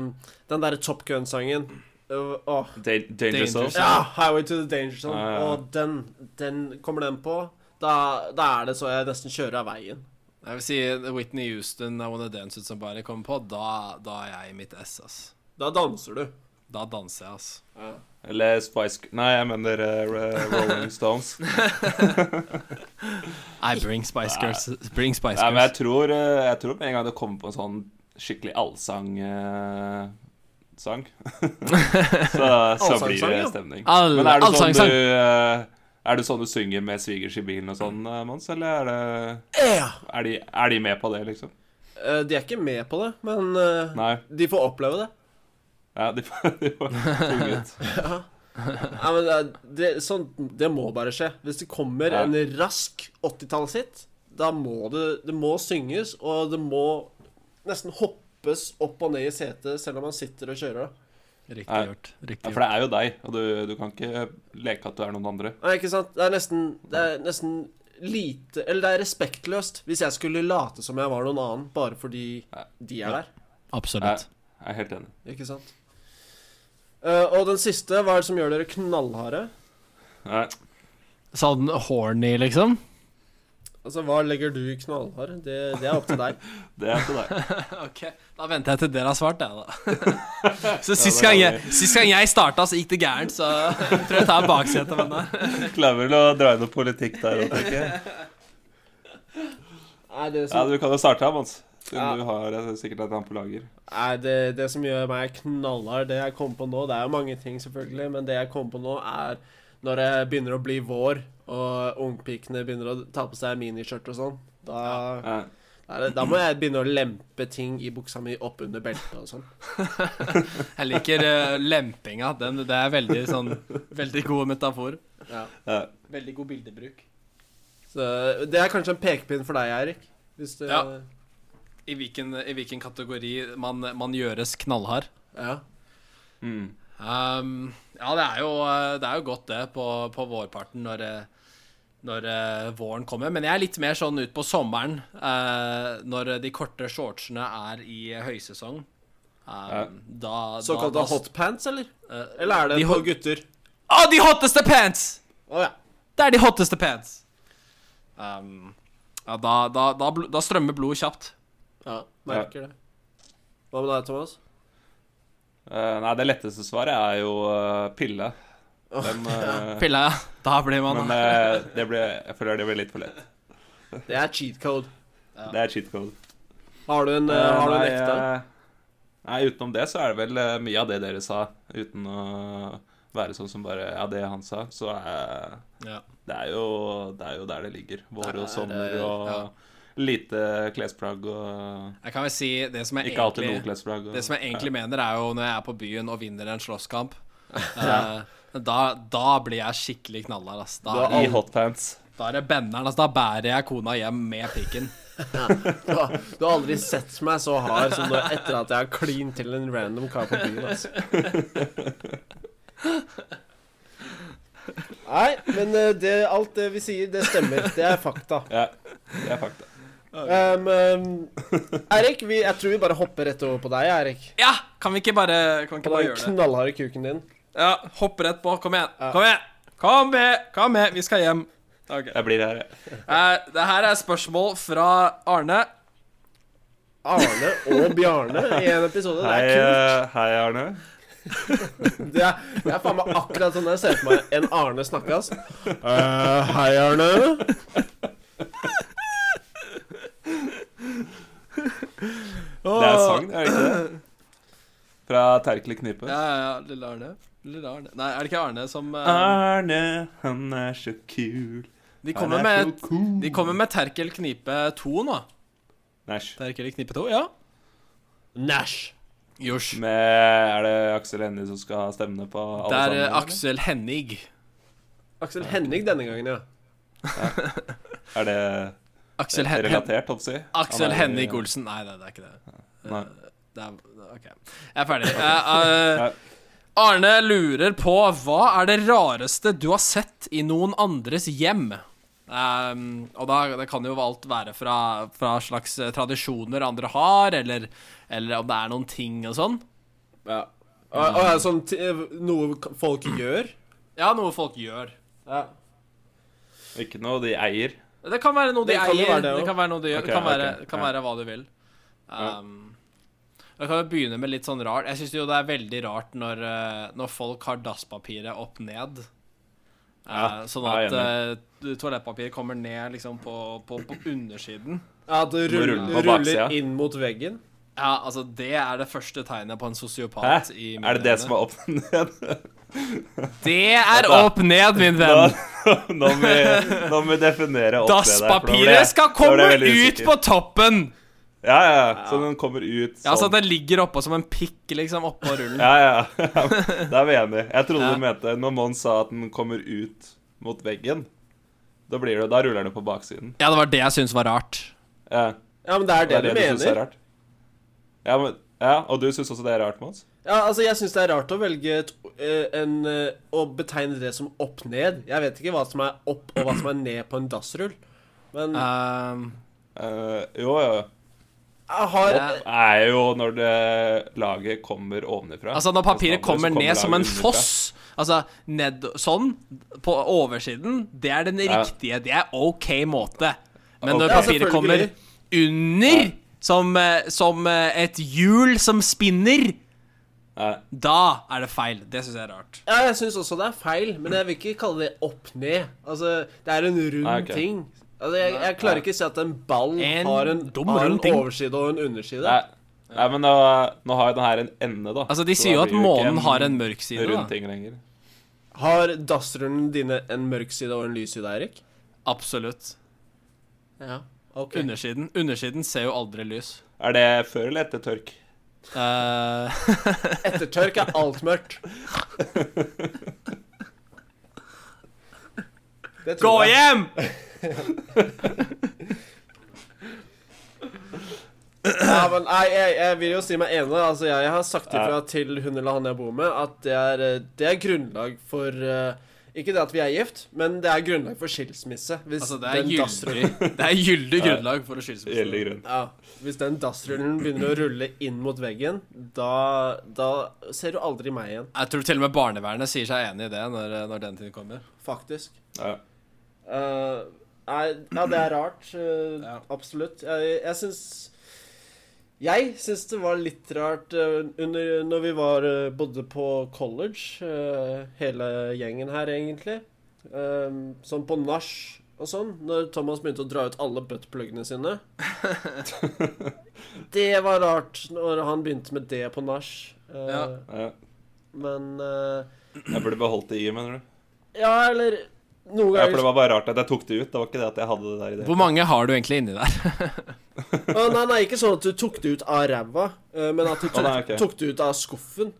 Speaker 3: Den derre Top Gun-sangen. Øh, Åh.
Speaker 4: Da danger
Speaker 2: Danger
Speaker 4: zone.
Speaker 2: zone.
Speaker 3: Ja, 'Highway to the Danger Zone'.
Speaker 4: Ja, ja, ja.
Speaker 3: Og den, den kommer den på, da, da er det så jeg nesten kjører av veien.
Speaker 2: Jeg vil si Whitney Houston, I Wanna Dance With Somebody kommer på. Da, da er jeg i mitt ess, ass.
Speaker 3: Da danser du.
Speaker 2: Da danser jeg, altså.
Speaker 4: Eller Spice Nei, jeg mener eh, Ro- Rolling Stones.
Speaker 2: I bring Spice Girls. Bring Spice
Speaker 4: Nei, men jeg
Speaker 2: Girls.
Speaker 4: tror, eh, jeg tror med en gang det kommer på en sånn skikkelig allsang-sang, så, så
Speaker 3: Allsangsang,
Speaker 4: blir det
Speaker 3: ja.
Speaker 4: stemning.
Speaker 2: All-
Speaker 4: Men er det sånn
Speaker 2: allsangsang.
Speaker 4: du eh, Er det sånn du synger med svigers i bilen og sånn, eh, Mons, eller er, det,
Speaker 3: Ja.
Speaker 4: er, de, er de med på det, liksom?
Speaker 3: Eh, de er ikke med på det, men eh,
Speaker 4: Nei.
Speaker 3: de får oppleve det.
Speaker 4: Ja, de, de var tvunget.
Speaker 3: Ja, men det, det, sånn, det må bare skje. Hvis det kommer
Speaker 4: Ja.
Speaker 3: en rask 80-tallshit, da må det, det må synges, og det må nesten hoppes opp og ned i setet selv om man sitter og kjører. da.
Speaker 2: Riktig
Speaker 4: Nei.
Speaker 2: gjort.
Speaker 4: Ja,
Speaker 2: Riktig
Speaker 4: for
Speaker 2: gjort.
Speaker 4: det er jo deg, og du, du kan ikke leke at du er noen andre.
Speaker 3: Nei, ikke sant? Det er nesten, det er nesten lite Eller det er respektløst hvis jeg skulle late som jeg var noen annen bare fordi
Speaker 4: Ja.
Speaker 3: de er der.
Speaker 2: Absolutt.
Speaker 4: Jeg er helt enig.
Speaker 3: Ikke sant? Eh, og den siste, hva er det som gjør dere knallharde?
Speaker 4: Nei.
Speaker 2: Sånn horny, liksom?
Speaker 3: Altså, hva legger du i knallhard? Det, det er opp til deg.
Speaker 4: Det er til deg.
Speaker 2: Ok, Da venter jeg til dere har svart, jeg, da. så sist
Speaker 4: Ja,
Speaker 2: gang
Speaker 4: det
Speaker 2: jeg,
Speaker 4: kan
Speaker 2: sist gang jeg starta, så gikk det gærent, så jeg tror jeg tar baksetet med den der.
Speaker 4: Klarer vel å dra inn noe politikk der òg, tenker jeg.
Speaker 3: Nei, det
Speaker 4: Ja,
Speaker 3: som,
Speaker 4: du kan jo starte her, Mons. Siden
Speaker 3: Ja.
Speaker 4: du har eh, sikkert et annet på lager.
Speaker 3: nei, det, det som gjør meg knallhard, det jeg kommer på nå Det er jo mange ting, selvfølgelig, men det jeg kommer på nå, er når det begynner å bli vår, og ungpikene begynner å ta på seg miniskjørt og sånn. Da,
Speaker 4: Ja.
Speaker 3: da er det, da må jeg begynne å lempe ting i buksa mi opp under beltet og sånn.
Speaker 2: Jeg liker eh, lempinga. Den, det er veldig sånn Veldig god metafor.
Speaker 3: Ja.
Speaker 4: Ja.
Speaker 2: Veldig god bildebruk.
Speaker 3: Så det er kanskje en pekepinn for deg, Eirik. Hvis du
Speaker 2: Ja. I hvilken, i hvilken kategori man, man gjøres knallhard?
Speaker 3: ja.
Speaker 4: Mm.
Speaker 2: Ehm, ja, det er, jo, eh, det er jo godt det på, på vårparten når, eh, når eh, våren kommer. Men jeg er litt mer sånn ut på sommeren eh, når de korte shortsene er i høysesong. Ehm,
Speaker 4: Ja.
Speaker 2: da, da,
Speaker 3: Såkalte
Speaker 2: da,
Speaker 3: hotpants, eller?
Speaker 2: eh,
Speaker 3: Eller er det
Speaker 2: de
Speaker 3: for
Speaker 2: hot-
Speaker 3: gutter?
Speaker 2: Å, de hotteste pants!
Speaker 3: Å ja.
Speaker 2: Det er de hotteste pants! Ehm, ja, da, da, da, bl- da strømmer blodet kjapt.
Speaker 3: ja. Merker det. Hva med deg, Thomas?
Speaker 4: Eh, nei, det letteste svaret er jo eh, pille. Den, eh,
Speaker 2: Pilla, ja. Da blir man
Speaker 4: men eh, det ble, jeg føler det ble litt for lett.
Speaker 3: Det er cheat code.
Speaker 4: Det er cheat code.
Speaker 3: Har du en, eh,
Speaker 4: Eh,
Speaker 3: har du en
Speaker 4: nei,
Speaker 3: ekte?
Speaker 4: eh, nei, utenom det så er det vel eh, mye av det dere sa, uten å være sånn som bare Ja, det han sa, så er
Speaker 2: Ja.
Speaker 4: det er, jo, det er jo der det ligger. Vår og sommer
Speaker 2: det-
Speaker 4: og
Speaker 2: ja.
Speaker 4: lite klesplagg og
Speaker 2: Jeg kan vel si det som er
Speaker 4: Ikke alltid
Speaker 2: egentlig-
Speaker 4: noe klesplagg. og-
Speaker 2: Det som jeg egentlig mener, er jo når jeg er på byen og vinner en slåsskamp. eh, da, da blir jeg skikkelig knallhard. ass. Da,
Speaker 4: I hotpants.
Speaker 2: da er det benderen. ass. Da bærer jeg kona hjem med pikken.
Speaker 3: Du har, du har aldri sett meg så hard som nå etter at jeg har klint til en random kar på byen. Altså. Nei, men eh, det, alt det vi sier, det stemmer. Det er fakta.
Speaker 4: Ja, det er fakta.
Speaker 3: Um, um, Eirik, vi, jeg tror vi bare hopper rett over på deg, Eirik.
Speaker 2: Ja! Kan vi ikke bare, kan vi ikke
Speaker 3: På
Speaker 2: bare
Speaker 3: den
Speaker 2: gjøre det?
Speaker 3: knallharde kuken din.
Speaker 2: Ja, Hopp rett på. Kom igjen.
Speaker 3: Ja.
Speaker 2: Kom igjen! Kom med! Kom med. Vi skal hjem. Ok.
Speaker 4: Jeg blir her, jeg.
Speaker 2: Eh, det her er spørsmål fra Arne.
Speaker 3: Arne og Bjarne i en episode.
Speaker 4: Hei,
Speaker 3: Det er
Speaker 4: eh, hei, Arne.
Speaker 3: kult. Det er, det er faen meg akkurat sånn jeg ser for meg en Arne snakke, altså. Eh, hei, Arne.
Speaker 4: Det er sang, er det ikke det? Fra Terkel i Knipe.
Speaker 2: Ja, ja, ja. Lille Arne. Lille Arne. Nei, er det ikke Arne som eh,
Speaker 4: Arne, han er så kul.
Speaker 2: de,
Speaker 4: Han
Speaker 2: kommer
Speaker 4: er
Speaker 2: med,
Speaker 4: så cool.
Speaker 2: de kommer med Terkel knipe 2 nå.
Speaker 4: Næsj.
Speaker 2: Terkel knipe 2, ja.
Speaker 3: Nash.
Speaker 2: Josj.
Speaker 4: Med, er det Aksel Hennie som skal ha stemmene på alle
Speaker 2: Det er
Speaker 4: sammen?
Speaker 2: eh, Aksel Hennig.
Speaker 3: Aksel Henning denne gangen, ja.
Speaker 4: Er det
Speaker 2: Aksel, Hen Hen
Speaker 4: relatert, hoppsi?
Speaker 2: Aksel Hennig Olsen. Nei, nei, det er ikke det.
Speaker 4: Nei.
Speaker 2: det er, OK. Jeg er ferdig. Eh, eh, Arne lurer på hva er det rareste du har sett i noen andres hjem? Ehm, og da det kan jo alt være fra, fra slags eh, tradisjoner andre har, eller, eller om det er noen ting og sånn.
Speaker 3: ja. Og, og er sånn t noe k- folk gjør?
Speaker 2: Ja, noe folk gjør.
Speaker 3: Ja.
Speaker 4: Ikke noe de eier.
Speaker 2: Det kan være noe de
Speaker 3: Det kan jo
Speaker 2: eier.
Speaker 3: være det
Speaker 2: det
Speaker 3: også.
Speaker 2: kan være noe de gjør.
Speaker 4: Ok,
Speaker 2: det kan være,
Speaker 4: ok,
Speaker 2: det kan
Speaker 4: ja.
Speaker 2: være hva du vil. Um, Jeg kan jo begynne med litt sånn rart. Jeg syns jo det er veldig rart når, eh, når folk har dasspapiret opp ned. Eh,
Speaker 4: Ja,
Speaker 2: sånn
Speaker 4: jeg
Speaker 2: at
Speaker 4: er
Speaker 2: eh, toalettpapiret kommer ned liksom på, på, på undersiden.
Speaker 3: Ja, det
Speaker 4: Må
Speaker 3: ruller,
Speaker 4: rulle på baksida.
Speaker 3: ruller inn mot veggen.
Speaker 2: Ja, altså Det er det første tegnet på en
Speaker 4: Hæ?
Speaker 2: sosiopat. i mine
Speaker 4: Er det det
Speaker 2: øyne.
Speaker 4: som er opp ned?
Speaker 2: Det er opp ned, min
Speaker 4: Nå,
Speaker 2: venn!
Speaker 4: nå, må vi, nå må vi definere opp det der. for nå ble jeg-
Speaker 2: Dasspapiret skal
Speaker 4: nå ble
Speaker 2: komme
Speaker 4: jeg veldig
Speaker 2: ut
Speaker 4: usikker.
Speaker 2: på toppen!
Speaker 4: Ja, ja, ja. Så den kommer ut
Speaker 2: Ja, så
Speaker 4: sånn.
Speaker 2: at den ligger oppå som en pikk, liksom, oppå rullen.
Speaker 4: Ja, ja. ja. Da er vi enige. Jeg trodde
Speaker 2: Ja.
Speaker 4: du mente når Mons sa at den kommer ut mot veggen. Da blir det, da ruller den på baksiden.
Speaker 2: Ja, det var det jeg syntes var rart.
Speaker 4: Ja,
Speaker 3: Ja, men det er det, du
Speaker 4: synes er
Speaker 3: mener.
Speaker 4: rart. Ja, men, ja, og du syns også det er rart, Mons?
Speaker 3: Ja, altså, jeg syns det er rart å velge et, eh, en, eh, å betegne det som opp ned. Jeg vet ikke hva som er opp og hva som er ned på en dassrull. Men jeg
Speaker 2: Ehm,
Speaker 4: Eh, jo, jo.
Speaker 3: har
Speaker 2: ja.
Speaker 4: Er jo når det laget kommer ovenfra.
Speaker 2: Altså når papiret kommer ned som en
Speaker 4: foss
Speaker 2: foss Altså ned, sånn, på oversiden, det er den
Speaker 4: Ja.
Speaker 2: riktige. Det er OK måte. Men
Speaker 4: Ok.
Speaker 2: når
Speaker 4: Ja,
Speaker 2: papiret kommer
Speaker 3: selvfølgelig.
Speaker 2: under, som, eh, som eh, et hjul som spinner,
Speaker 4: Ja.
Speaker 2: da er det feil. Det syns jeg er rart.
Speaker 3: Ja, jeg syns også det er feil, men jeg vil ikke kalle det opp ned. Altså, det er en rund
Speaker 4: Nei, ok.
Speaker 3: ting. Altså, jeg, jeg klarer ikke å si at en ball
Speaker 2: En
Speaker 3: har en,
Speaker 2: dum
Speaker 3: har en
Speaker 2: rund ting.
Speaker 3: overside og en underside.
Speaker 4: Nei, nei, men nå, nå har jo den her en ende, da.
Speaker 2: Altså De
Speaker 4: Så
Speaker 2: sier
Speaker 4: da
Speaker 2: jo at
Speaker 4: blir det ikke
Speaker 2: månen har en mørk side.
Speaker 4: rund
Speaker 2: Da.
Speaker 4: ting lenger.
Speaker 3: Har dassrullene dine en mørk side og en lys side, Eirik?
Speaker 2: Absolutt.
Speaker 3: Ja. Ok.
Speaker 2: Undersiden Undersiden ser jo aldri lys.
Speaker 4: Er det før eller etter tørk?
Speaker 2: Eh,
Speaker 3: Ettertørk er alt mørkt. Det
Speaker 2: Gå
Speaker 3: tror jeg.
Speaker 2: hjem!
Speaker 3: Ja, men, nei, jeg, jeg vil jo si meg enig. Altså, jeg har sagt ifra til hun eller han jeg bor med, at det er, eh, det er grunnlag for eh, Ikke det at vi er gift, men det er grunnlag for skilsmisse. Hvis
Speaker 2: Altså, det er
Speaker 3: den dassrullen
Speaker 2: gyldig, det er gyldig grunnlag for å skylde seg.
Speaker 4: Gjelder grunn.
Speaker 3: ja, Hvis den dassrullen begynner å rulle inn mot veggen, da, da ser du aldri meg igjen,
Speaker 2: Jeg tror til og med barnevernet sier seg enig i det når, eh, når den tiden kommer.
Speaker 3: faktisk.
Speaker 4: Ja.
Speaker 3: Eh, nei, ja, det er rart. eh,
Speaker 2: Ja.
Speaker 3: Absolutt. Jeg, jeg syns Jeg syns det var litt rart eh, under, når vi var, eh, bodde på college, eh, hele gjengen her, egentlig. Eh, sånn på nach og sånn, når Thomas begynte å dra ut alle buttpluggene sine. det var rart når han begynte med det på nach. Eh,
Speaker 2: Ja.
Speaker 4: Ja.
Speaker 3: Men eh,
Speaker 4: Jeg burde beholdt det i, mener du?
Speaker 3: Ja, eller noen
Speaker 4: Ja, for det
Speaker 3: ganger
Speaker 4: var bare rart at jeg tok det ut. Det var ikke det at jeg hadde det der i det.
Speaker 2: Hvor mange har du egentlig inni der?
Speaker 3: Å, nei, nei, ikke sånn at du tok det ut av ræva, eh, men at du tok,
Speaker 4: Å, nei, ok.
Speaker 3: tok det ut av skuffen.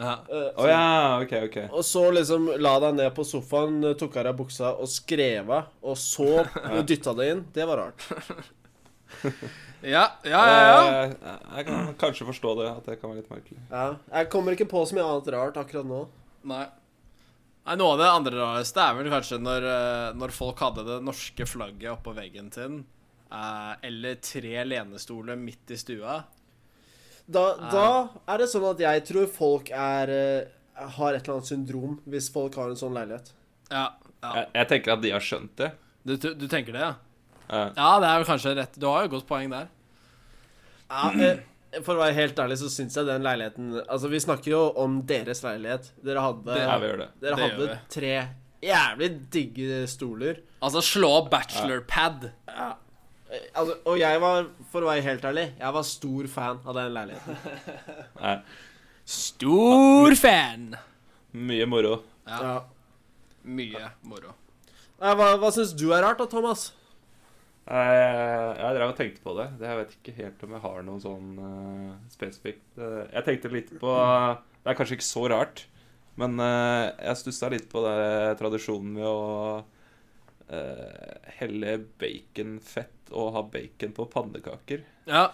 Speaker 2: Ja.
Speaker 3: eh,
Speaker 4: Å ja, OK, OK.
Speaker 3: Og så liksom la deg ned på sofaen, eh, tok av deg buksa og skrev av, og så dytta det inn. Det var rart.
Speaker 2: Ja, ja, ja, ja.
Speaker 4: Eh, Jeg kan kanskje forstå det, at det kan være litt merkelig.
Speaker 3: Ja. Jeg kommer ikke på så mye annet rart akkurat nå.
Speaker 2: Nei. Nei, Noe av det andre rareste er vel kanskje når, eh, når folk hadde det norske flagget oppå veggen sin. eh, Eller tre lenestoler midt i stua.
Speaker 3: Da, da er det sånn at jeg tror folk er eh, har et eller annet syndrom hvis folk har en sånn leilighet.
Speaker 2: Ja, ja.
Speaker 4: Jeg, jeg tenker at de har skjønt det.
Speaker 2: Du, du, du tenker det, ja?
Speaker 4: Eh,
Speaker 2: Ja, det er vel kanskje rett. Du har jo et godt poeng der.
Speaker 3: Ja, eh, for å være helt ærlig så syns jeg den leiligheten Altså, vi snakker jo om deres leilighet. Dere hadde
Speaker 2: Det
Speaker 4: Ja, vi gjør det.
Speaker 3: Dere
Speaker 2: Det gjør
Speaker 3: hadde tre jævlig digge stoler.
Speaker 2: Altså, slå opp bachelorpad.
Speaker 3: Eh, Altså, og jeg var, for å være helt ærlig, jeg var stor fan av den leiligheten.
Speaker 4: Nei,
Speaker 2: Stor fan!
Speaker 4: mye moro.
Speaker 2: Ja,
Speaker 3: Ja.
Speaker 2: mye moro.
Speaker 3: Nei, Hva, hva syns du er rart da, Thomas?
Speaker 4: Eh, Jeg drev og tenkte på det. Det- Jeg vet ikke helt om jeg har noe sånn eh, spesifikt Eh, Jeg tenkte litt på Det er kanskje ikke så rart, men eh, jeg stussa litt på det tradisjonen med å eh, helle baconfett og ha bacon på pannekaker.
Speaker 2: Ja.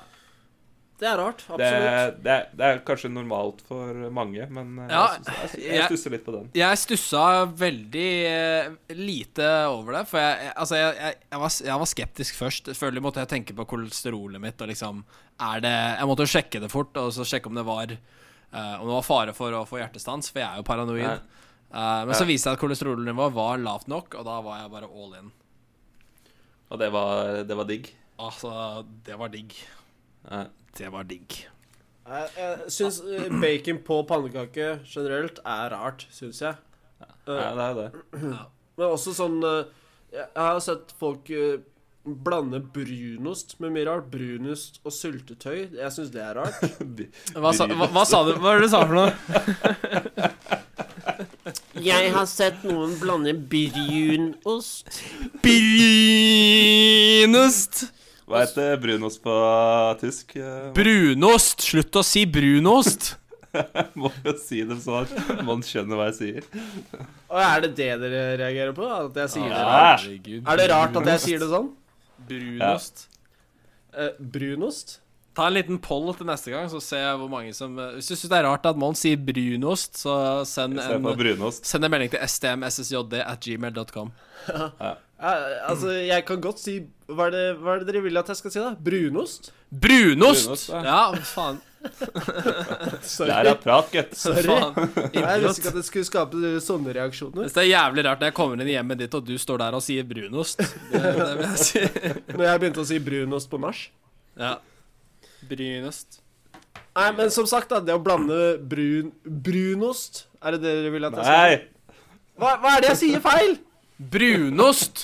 Speaker 3: Det er rart,
Speaker 4: Det,
Speaker 3: absolutt.
Speaker 4: det, er- det er kanskje normalt for mange, men eh,
Speaker 2: Ja,
Speaker 4: jeg, stusser, jeg,
Speaker 2: jeg-
Speaker 4: jeg stusser litt på den.
Speaker 2: Jeg stussa veldig eh, lite over det, for jeg, jeg- altså jeg, jeg, jeg, var, jeg var skeptisk først. Selvfølgelig måtte jeg tenke på kolesterolet mitt. Og liksom, er det, jeg måtte jo sjekke det fort, og så sjekke om det var eh, Om det var fare for å få hjertestans, for jeg er jo paranoid.
Speaker 4: Nei.
Speaker 2: Eh, men
Speaker 4: Ja.
Speaker 2: så viste jeg at kolesterolnivået var lavt nok, og da var jeg bare all in.
Speaker 4: Og det var, det var digg.
Speaker 2: Altså, det var digg.
Speaker 4: Ja.
Speaker 2: Det var digg.
Speaker 3: Jeg, jeg syns eh, bacon på pannekake generelt er rart, syns jeg.
Speaker 4: Ja, det er jo det.
Speaker 3: Men også sånn eh, Jeg har sett folk eh, blande brunost med mye rart. Brunost og syltetøy. Jeg syns det er rart.
Speaker 2: Hva sa, hva, hva sa du? Hva var det du sa for noe?
Speaker 3: Jeg har sett noen blande brunost
Speaker 2: Brunost!
Speaker 4: Hva heter brunost på tysk? Eh,
Speaker 2: Brunost! Slutt å si brunost!
Speaker 4: Må jo si dem sånn at man skjønner hva jeg sier.
Speaker 3: Og er det det dere reagerer på? At jeg sier det rart?
Speaker 4: Ja.
Speaker 2: Herregud.
Speaker 3: Er det rart at jeg sier det sånn?
Speaker 2: Brunost.
Speaker 3: Eh, brunost?
Speaker 2: Ta en liten poll til neste gang, så ser jeg hvor mange som eh, Hvis du syns det er rart at Mons sier brunost, så send en,
Speaker 4: Istedenfor brunost.
Speaker 2: send en melding til stmssjd at gmail.com.
Speaker 3: Eh, altså, jeg kan godt si hva er, det, hva er det dere vil at jeg skal si, da? Brunost?
Speaker 2: Brunost!
Speaker 4: Brunost, ja.
Speaker 2: Ja, faen.
Speaker 3: Sorry.
Speaker 4: Lær av prat, gutt.
Speaker 3: Sorry.
Speaker 2: faen.
Speaker 3: Jeg visste
Speaker 2: Idiot.
Speaker 3: ikke at det skulle skape sånne reaksjoner.
Speaker 2: Hvis det er jævlig rart når jeg kommer inn i hjemmet ditt, og du står der og sier brunost. Det, det vil jeg si.
Speaker 3: Når jeg begynte å si brunost på nach.
Speaker 2: Ja. Brunost.
Speaker 3: Nei, men som sagt, da. Det å blande brun brunost Er det det dere vil at jeg skal si?
Speaker 4: Nei!
Speaker 3: Hva, hva er det jeg sier feil?
Speaker 2: Brunost!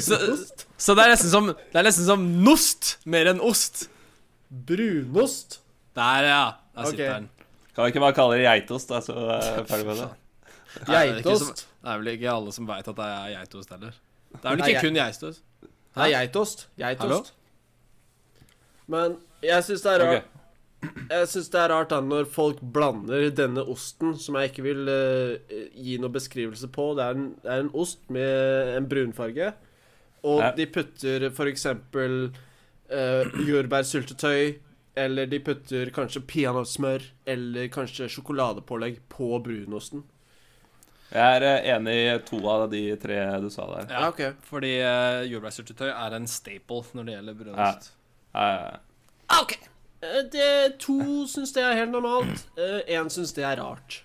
Speaker 2: Så, så det, er nesten som, det er nesten som nost mer enn ost.
Speaker 3: Brunost.
Speaker 2: Der, ja. Der sitter
Speaker 3: Ok.
Speaker 2: den.
Speaker 4: Kan vi ikke bare kalle det geitost, da, så er jeg ferdig med det?
Speaker 2: Nei, det er ikke som-
Speaker 3: Geitost.
Speaker 2: Det er vel ikke alle som veit at det er geitost heller. Det er
Speaker 3: Nei,
Speaker 2: vel ikke
Speaker 3: jeg-
Speaker 2: kun geitost.
Speaker 3: Nei, geitost.
Speaker 2: Hallo?
Speaker 3: Geitost. Men jeg syns det er rart
Speaker 4: Ok.
Speaker 3: Jeg synes det er rart da når folk blander denne osten, som jeg ikke vil eh, gi noen beskrivelse på Det er en, det er en ost med en brunfarge, og
Speaker 4: Ja.
Speaker 3: de putter f.eks. Uh, jordbærsyltetøy, eller de putter kanskje peanøttsmør, eller kanskje sjokoladepålegg på brunosten.
Speaker 4: Jeg er eh, enig i to av de tre du sa der.
Speaker 2: Ja,
Speaker 3: ok.
Speaker 2: Fordi uh, jordbærsyltetøy er en staple når det gjelder brunost.
Speaker 4: Eh,
Speaker 3: Eh, Det, to syns det er helt normalt. Én syns det er rart.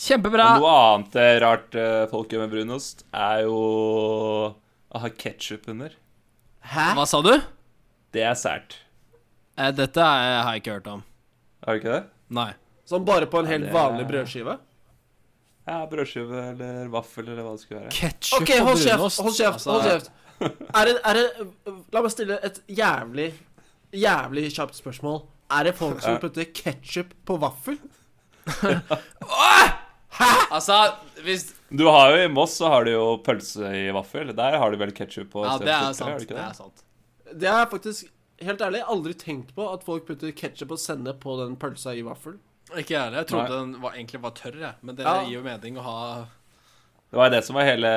Speaker 2: Kjempebra!
Speaker 4: Noe annet eh, rart eh, folk gjør med brunost, er jo å ha ketsjup under.
Speaker 3: Hæ?
Speaker 2: Hva sa du?
Speaker 4: Det er sært.
Speaker 2: Eh, dette er- har jeg ikke hørt om.
Speaker 4: Har du ikke det?
Speaker 2: Nei.
Speaker 3: Sånn bare på en helt
Speaker 4: det-
Speaker 3: vanlig brødskive?
Speaker 4: Ja, Brødskive eller vaffel eller hva det skulle være.
Speaker 2: Ketchup
Speaker 3: OK, hold
Speaker 2: og brunost. Altså,
Speaker 3: kjeft, hold
Speaker 4: altså.
Speaker 3: kjeft. hold kjeft er det, er det, La meg stille et jævlig, jævlig kjapt spørsmål. Er det folk som putter ketsjup på vaffel?
Speaker 2: Altså, hvis
Speaker 4: Du har jo I Moss så har du jo pølse i vaffel. Der har du vel ketsjup på
Speaker 2: Ja, det er
Speaker 4: sennep,
Speaker 2: sant.
Speaker 4: har du ikke
Speaker 2: Det
Speaker 4: det?
Speaker 2: er sant.
Speaker 3: Det har jeg faktisk helt ærlig aldri tenkt på, at folk putter ketsjup og sennep på den pølsa i vaffel.
Speaker 2: Ikke jeg heller. Jeg trodde
Speaker 4: Nei.
Speaker 2: den var, egentlig var tørr, jeg. Men det
Speaker 3: Ja.
Speaker 2: gir jo mening å ha
Speaker 4: Det var jo det som var hele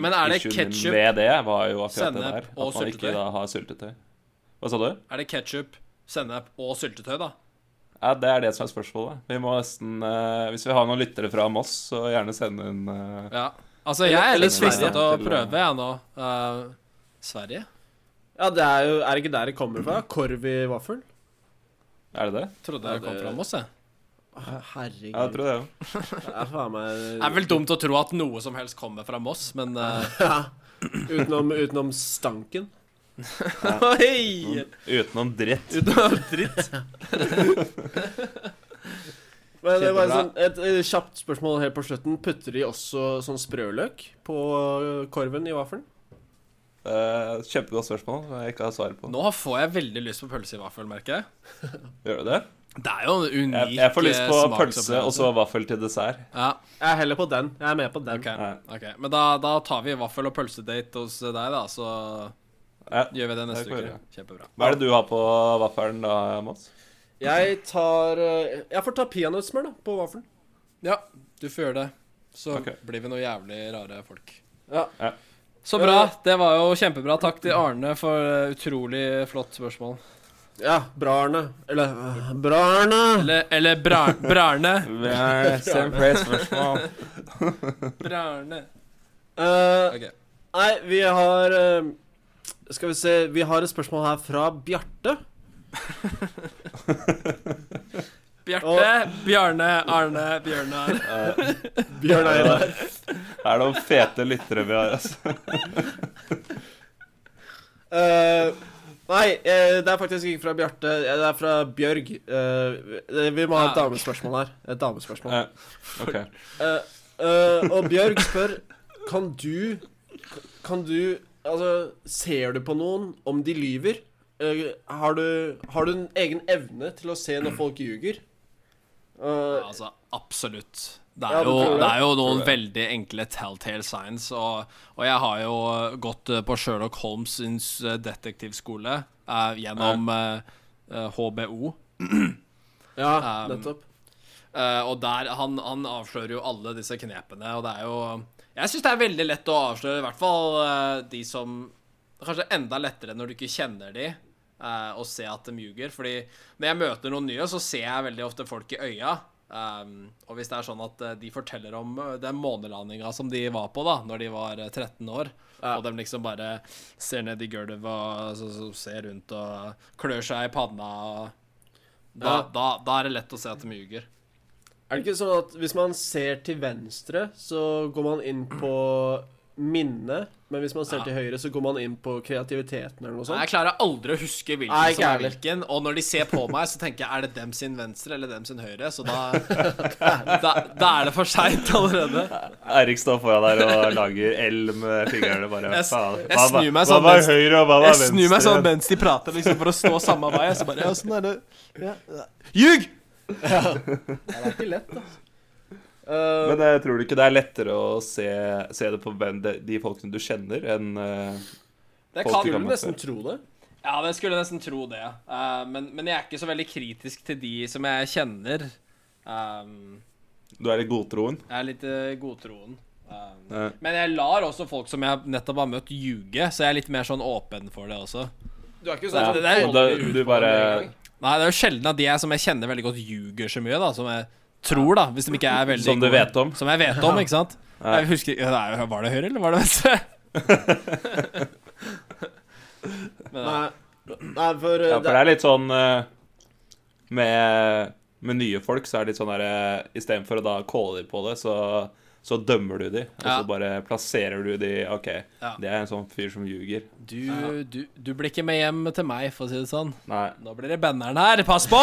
Speaker 2: Men er det
Speaker 4: issuen min
Speaker 2: ketchup,
Speaker 4: med det, var jo akkurat det
Speaker 2: sennep
Speaker 4: der.
Speaker 2: og
Speaker 4: At man
Speaker 2: syltetøy?
Speaker 4: ikke da har syltetøy. Hva sa du?
Speaker 2: Er det ketsjup, sennep og syltetøy, da?
Speaker 4: Ja, Det er det som er spørsmålet. Vi må nesten eh, Hvis vi har noen lyttere fra Moss, så gjerne sende en eh,
Speaker 2: Ja. Altså, jeg er
Speaker 3: eller
Speaker 2: litt frista til å
Speaker 4: Sverige.
Speaker 2: prøve, jeg nå. Eh, Sverige?
Speaker 3: Ja, det er jo Er det ikke der det kommer fra? Korv i vaffel?
Speaker 4: Er det det?
Speaker 2: Trodde jeg
Speaker 3: Ja,
Speaker 2: kom
Speaker 3: det-
Speaker 2: fra Moss, jeg.
Speaker 3: Herregud.
Speaker 4: Ja, jeg tror det. jo.
Speaker 3: det er faen
Speaker 2: Det er
Speaker 3: meg
Speaker 2: vel dumt å tro at noe som helst kommer fra Moss, men eh,
Speaker 3: utenom, utenom stanken.
Speaker 4: Mm.
Speaker 2: Oi!
Speaker 4: Utenom dritt.
Speaker 3: Men det var
Speaker 4: Kjempebra.
Speaker 3: sånn, et, eh, kjapt spørsmål helt på slutten. Putter de også sånn sprøløk på eh, korven i vaffelen?
Speaker 4: Eh, kjempegodt spørsmål som jeg ikke har svar på.
Speaker 2: Nå får jeg veldig lyst på pølse i vaffel, merker jeg.
Speaker 4: Gjør du det?
Speaker 2: Det er jo en unik
Speaker 4: Jeg, jeg får lyst på
Speaker 2: eh,
Speaker 4: pølse og så
Speaker 2: smaksopplevelse.
Speaker 4: vaffel til dessert.
Speaker 2: Ja,
Speaker 3: Jeg er heller på den. Jeg er med på den.
Speaker 2: ok. ok. Men da, da tar vi vaffel- og pølsedate hos eh, deg, da. Så
Speaker 4: Ja.
Speaker 2: gjør vi det
Speaker 4: Takk
Speaker 2: neste
Speaker 4: for
Speaker 2: uke.
Speaker 4: det.
Speaker 2: Kjempebra.
Speaker 4: Hva er det du har på vaffelen da, Mats?
Speaker 3: Jeg tar eh, Jeg får ta peanøttsmør, da, på vaffelen.
Speaker 2: Ja, du får gjøre det. Så
Speaker 4: Ok.
Speaker 2: blir vi noen jævlig rare folk.
Speaker 3: Ja.
Speaker 4: Ja.
Speaker 2: Så bra. Det var jo kjempebra. Takk til Arne for eh, utrolig flott spørsmål.
Speaker 3: Ja, bra, Arne. Eller eh, Bra, Arne!
Speaker 2: Eller, eller bra, Brarne.
Speaker 4: Spørsmål.
Speaker 2: Brarne.
Speaker 3: Eh,
Speaker 2: Ok.
Speaker 3: Nei, vi har eh, Skal vi se Vi har et spørsmål her fra Bjarte.
Speaker 2: Bjarte, Bjarne, Arne, Bjørnar.
Speaker 3: Bjørn Einar.
Speaker 4: Eh, Er det fete lyttere vi har, altså?
Speaker 3: Eh, Nei, eh, det er faktisk ikke fra Bjarte. eh, Det er fra Bjørg. Eh, vi må ha et
Speaker 2: Ah.
Speaker 3: damespørsmål her. Et damespørsmål.
Speaker 4: Eh, OK.
Speaker 3: Eh, eh, og Bjørg spør Kan du Kan du Altså, ser du på noen om de lyver? Eh, har, du, har du en egen evne til å se når folk ljuger? Eh,
Speaker 2: Altså, absolutt. Det
Speaker 3: Ja,
Speaker 2: er,
Speaker 3: du
Speaker 2: jo,
Speaker 3: tror det?
Speaker 2: det er jo noen veldig enkle telltale signs, og, og jeg har jo gått eh, på Sherlock Holmes' sin s- detektivskole eh, gjennom eh, eh, HBO.
Speaker 3: ja,
Speaker 2: um,
Speaker 3: nettopp.
Speaker 2: Eh, og der, han, han avslører jo alle disse knepene, og det er jo Jeg syns det er veldig lett å avsløre, i hvert fall eh, de som Kanskje enda lettere når du ikke kjenner de, eh, og se at de ljuger. Fordi når jeg møter noen nye, så ser jeg veldig ofte folk i øya. Um, og hvis det er sånn at eh, de forteller om eh, den månelandinga som de var på da Når de var eh, 13 år, og de liksom bare ser ned i gulvet og så, så, ser rundt og klør seg i panna og da,
Speaker 3: Ja.
Speaker 2: da, da er det lett å se at de ljuger.
Speaker 3: Er det ikke sånn at hvis man ser til venstre, så går man inn på minne, men hvis man ser
Speaker 2: Ja.
Speaker 3: til høyre, så går man inn på kreativiteten eller noe
Speaker 2: Nei,
Speaker 3: sånt?
Speaker 2: Jeg klarer aldri å huske hvilken
Speaker 3: Nei, ikke
Speaker 2: som er
Speaker 3: heller.
Speaker 2: hvilken. Og når de ser på meg, så tenker jeg er det dem sin venstre eller dem sin høyre? Så da, da, da er det for seint allerede.
Speaker 5: Eirik står foran der og lager L med fingrene. bare,
Speaker 2: Jeg s-
Speaker 5: faen,
Speaker 2: jeg
Speaker 5: hva var-
Speaker 2: snur meg
Speaker 5: Hva
Speaker 2: sånn
Speaker 5: var
Speaker 2: mens-
Speaker 5: høyre, og hva var
Speaker 2: Jeg
Speaker 5: venstre?
Speaker 2: snur meg sånn mens de prater, liksom for å stå samme vei. Så bare, ja, sånn er det. Ljug!
Speaker 3: Det er ikke lett, altså.
Speaker 4: Men eh, tror du ikke det er lettere å se, se det på hvem de, de folkene du kjenner, enn eh,
Speaker 2: Det kan
Speaker 4: Folk i
Speaker 3: Skulle
Speaker 4: gammel-
Speaker 3: nesten tro det.
Speaker 2: Ja, men jeg skulle nesten tro det. Eh, men, men jeg er ikke så veldig kritisk til de som jeg kjenner. Um,
Speaker 4: du er litt godtroen?
Speaker 2: jeg er litt eh, godtroen. Um,
Speaker 4: Eh,
Speaker 2: men jeg lar også folk som jeg nettopp har møtt, ljuge, så jeg er litt mer sånn åpen for det også.
Speaker 3: Du er ikke
Speaker 2: Ja,
Speaker 3: sånn
Speaker 2: det der-
Speaker 4: og da, du bare
Speaker 2: Nei, det er jo sjelden at de jeg, som jeg kjenner veldig godt, ljuger så mye, da. Som jeg tror, da. Hvis de ikke er veldig
Speaker 4: Som du
Speaker 2: gode.
Speaker 4: vet om.
Speaker 2: Som jeg vet om, ikke sant. Jeg husker ja, det er jo- Var det høyre, eller var det venstre? Men, ja.
Speaker 3: Nei, nei for, eh,
Speaker 4: Ja, for det er litt sånn eh, med, med nye folk så er det litt sånn der eh, Istedenfor å da calle dem på det, så, så dømmer du dem. Og
Speaker 2: Ja.
Speaker 4: så bare plasserer du dem OK,
Speaker 2: Ja.
Speaker 4: det er en sånn fyr som ljuger.
Speaker 2: du, du, du blir ikke med hjem til meg, for å si det sånn.
Speaker 4: Nei,
Speaker 2: Nå blir det banneren her, pass på!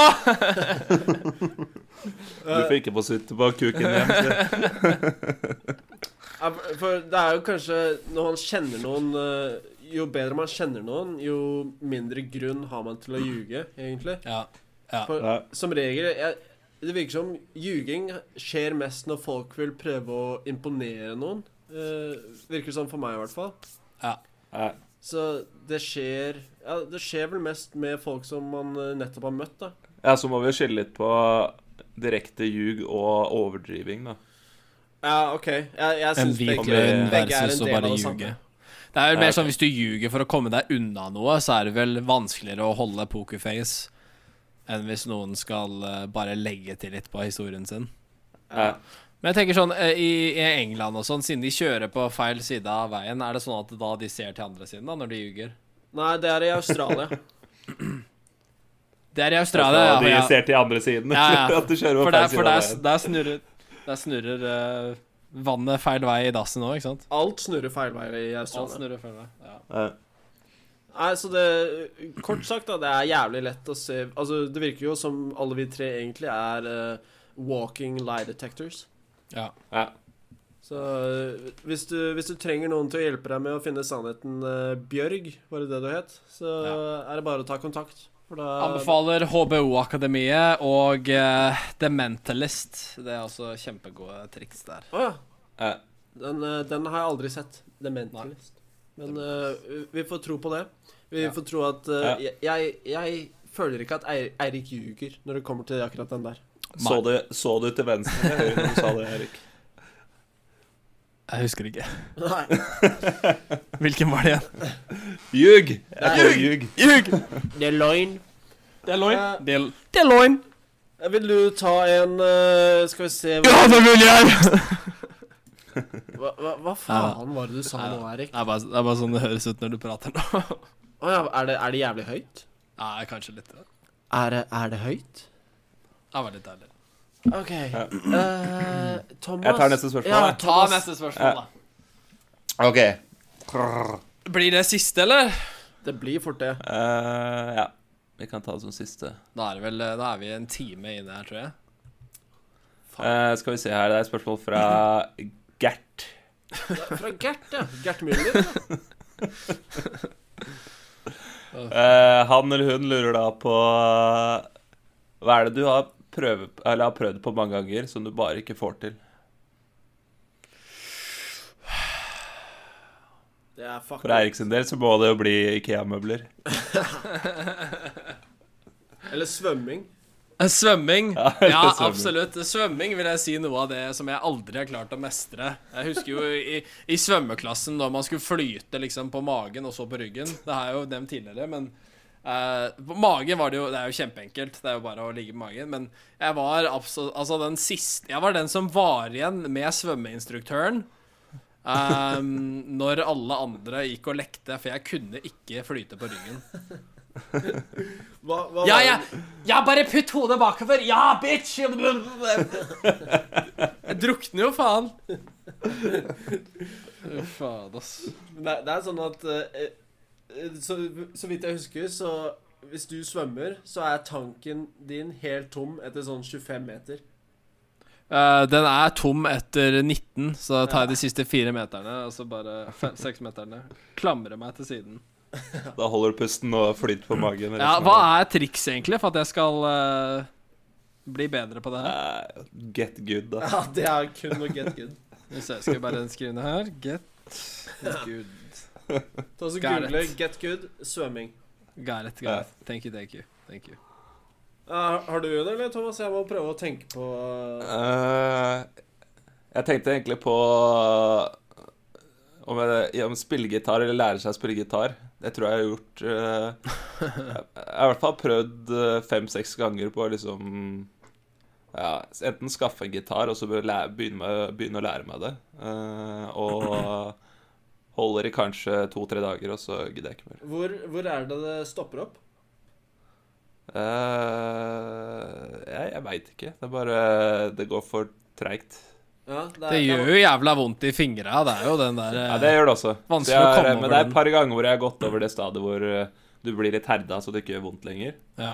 Speaker 4: du
Speaker 2: Eh.
Speaker 4: får ikke få sitte på kuken hjem. sier.
Speaker 3: Ja, for- for det er jo kanskje Når man kjenner noen eh, Jo bedre man kjenner noen, jo mindre grunn har man til å ljuge, egentlig.
Speaker 2: Ja. ja.
Speaker 3: For
Speaker 4: Ja.
Speaker 3: som regel jeg, Det virker som ljuging skjer mest når folk vil prøve å imponere noen. Eh, virker sånn for meg, i hvert fall.
Speaker 4: Nei.
Speaker 3: Så det skjer Ja, det skjer vel mest med folk som man eh, nettopp har møtt, da.
Speaker 4: Ja, så må vi jo skille litt på direkte ljug og overdriving, da.
Speaker 3: Ja, OK. Jeg, jeg
Speaker 2: En
Speaker 3: syns
Speaker 2: hvit
Speaker 3: begge,
Speaker 2: løgn
Speaker 3: begge er
Speaker 2: versus
Speaker 3: en del
Speaker 2: å
Speaker 3: av
Speaker 2: bare
Speaker 3: det
Speaker 2: ljuge.
Speaker 3: samme.
Speaker 2: Det er vel
Speaker 4: Ja,
Speaker 2: mer
Speaker 4: ok.
Speaker 2: sånn hvis du ljuger for å komme deg unna noe, så er det vel vanskeligere å holde pokerface enn hvis noen skal eh, bare legge til litt på historien sin.
Speaker 4: Ja.
Speaker 2: Men jeg tenker sånn, eh, i, i England og sånn, siden de kjører på feil side av veien, er det sånn at da de ser til andre siden da, når de ljuger?
Speaker 3: Nei, det er i Australia.
Speaker 2: Det er i
Speaker 4: Altså,
Speaker 2: Australia, ja.
Speaker 4: de
Speaker 2: For, jeg,
Speaker 4: ser til andre siden.
Speaker 2: Ja, ja.
Speaker 4: at du kjører på
Speaker 2: for, der,
Speaker 4: feil side
Speaker 2: for
Speaker 4: av
Speaker 2: der,
Speaker 4: veien.
Speaker 2: der snurrer, der snurrer eh, vannet feil vei i dassen òg, ikke sant?
Speaker 3: Alt snurrer feil vei i Australia.
Speaker 2: Alt snurrer feil vei. Ja.
Speaker 4: Ja.
Speaker 3: Nei, så det Kort sagt, da, det er jævlig lett å se Altså, det virker jo som alle vi tre egentlig er eh, walking lie detectors.
Speaker 2: Ja.
Speaker 4: Ja.
Speaker 3: Så eh, hvis, du, hvis du trenger noen til å hjelpe deg med å finne sannheten, eh, Bjørg, var det det du het, så er det bare å ta kontakt. For da
Speaker 2: Anbefaler HBO-akademiet og eh, The Mentalist. Det er også kjempegode triks der.
Speaker 3: Å ja.
Speaker 4: Ja.
Speaker 3: Den, eh, den har jeg aldri sett. The Mentalist. Men eh, vi får tro på det. Vi
Speaker 2: Ja.
Speaker 3: får tro at eh, jeg, jeg føler ikke at Eir- Eirik ljuger når det kommer til akkurat den der.
Speaker 4: Så, du, så du til venstre eller høyre når du sa det, Erik?
Speaker 2: Jeg husker ikke.
Speaker 3: Nei.
Speaker 2: Hvilken var det igjen?
Speaker 4: Ljug! Jeg får ljug.
Speaker 2: Ljug!
Speaker 3: Det er løgn.
Speaker 2: Det er
Speaker 3: løgn.
Speaker 2: Det er, Eh, det er løgn.
Speaker 3: Vil du ta en eh, Skal vi se hva,
Speaker 2: det vil jeg!
Speaker 3: hva, hva, hva faen var det du sa
Speaker 2: Ja.
Speaker 3: nå, Erik?
Speaker 2: Det er, bare, det er bare sånn det høres ut når du prater nå.
Speaker 3: Å ja, er det, er det jævlig høyt?
Speaker 2: Nei, kanskje litt. ja.
Speaker 3: Er det, er det høyt?
Speaker 2: Det var litt deilig.
Speaker 3: OK. eh, Thomas
Speaker 4: Jeg tar neste spørsmål,
Speaker 3: Ja,
Speaker 4: jeg.
Speaker 2: Ta
Speaker 3: Thomas.
Speaker 4: Eh,
Speaker 2: neste spørsmål, da.
Speaker 4: OK.
Speaker 2: Blir det siste, eller?
Speaker 3: Det blir fort det.
Speaker 4: Eh, ja. Vi kan ta det som siste.
Speaker 2: Da er, det vel, da er vi en time inne her, tror jeg.
Speaker 4: Eh, skal vi se her, det er et spørsmål fra Gert.
Speaker 3: Fra Gert, ja. Gert Müller.
Speaker 4: Eh, han eller hun lurer da på eh, Hva er det du har, prøve, eller har prøvd på mange ganger som du bare ikke får til?
Speaker 3: Det er fuck
Speaker 4: For Eirik sin del så må det jo bli Ikea-møbler.
Speaker 3: Eller svømming.
Speaker 2: Eh, Svømming.
Speaker 4: Ja,
Speaker 2: Ja,
Speaker 4: det er svømming.
Speaker 2: absolutt. Svømming vil jeg si noe av det som jeg aldri har klart å mestre. Jeg husker jo i, i svømmeklassen da man skulle flyte liksom på magen og så på ryggen. Det har jeg jo nevnt tidligere, men eh, på magen var det jo Det er jo kjempeenkelt. Det er jo bare å ligge på magen. Men jeg var absolutt Altså, den siste Jeg var den som var igjen med svømmeinstruktøren. eh, når alle andre gikk og lekte, for jeg kunne ikke flyte på ryggen.
Speaker 3: Hva, hva
Speaker 2: Ja,
Speaker 3: var
Speaker 2: ja.
Speaker 3: det-
Speaker 2: ja, bare putt hodet bakover. Ja, bitch! Jeg drukner jo, faen. Faen, ass.
Speaker 3: Det, det er sånn at eh, eh, så, så vidt jeg husker, så hvis du svømmer, så er tanken din helt tom etter sånn 25 meter.
Speaker 2: Eh, den er tom etter 19, så da tar jeg de siste fire meterne. Altså bare fem, seks meterne. Klamrer meg til siden.
Speaker 4: Da holder du pusten og flyter på magen.
Speaker 2: Ja, Hva er triks egentlig for at jeg skal eh, bli bedre på det her?
Speaker 4: er Eh, Get good, da.
Speaker 3: Ja, det er kun å get good.
Speaker 2: Hvis jeg skal bare skrive ned her Get good.
Speaker 3: Ta så
Speaker 2: Got
Speaker 3: Google
Speaker 2: it.
Speaker 3: 'get good svømming'.
Speaker 2: Got it, got it. Thank you, thank you. Thank you.
Speaker 3: Ja, har du en, eller, Thomas? Jeg må prøve å tenke på
Speaker 4: Eh, jeg tenkte egentlig på eh, om, jeg, om spillegitar eller lære seg å spille gitar. Det tror jeg jeg har gjort eh, Jeg jeg har i hvert fall prøvd eh, fem-seks ganger på å liksom ja, Enten skaffe en gitar og så be- læ- begynne, med, begynne å lære meg det. Eh, og holder i kanskje to-tre dager, og så gidder jeg ikke mer.
Speaker 3: Hvor, hvor er det det stopper opp?
Speaker 4: Eh, jeg jeg veit ikke. Det er bare Det går for treigt.
Speaker 3: Ja, det, er-
Speaker 2: Det gjør jo jævla vondt i fingra. Det er jo den der eh,
Speaker 4: Ja, det gjør det også.
Speaker 2: vanskelig
Speaker 4: Så jeg, eh,
Speaker 2: å komme
Speaker 4: men
Speaker 2: over
Speaker 4: det er
Speaker 2: den.
Speaker 4: et par ganger hvor jeg har gått over det stadiet hvor eh, du blir litt herda så det ikke gjør vondt lenger.
Speaker 2: ja.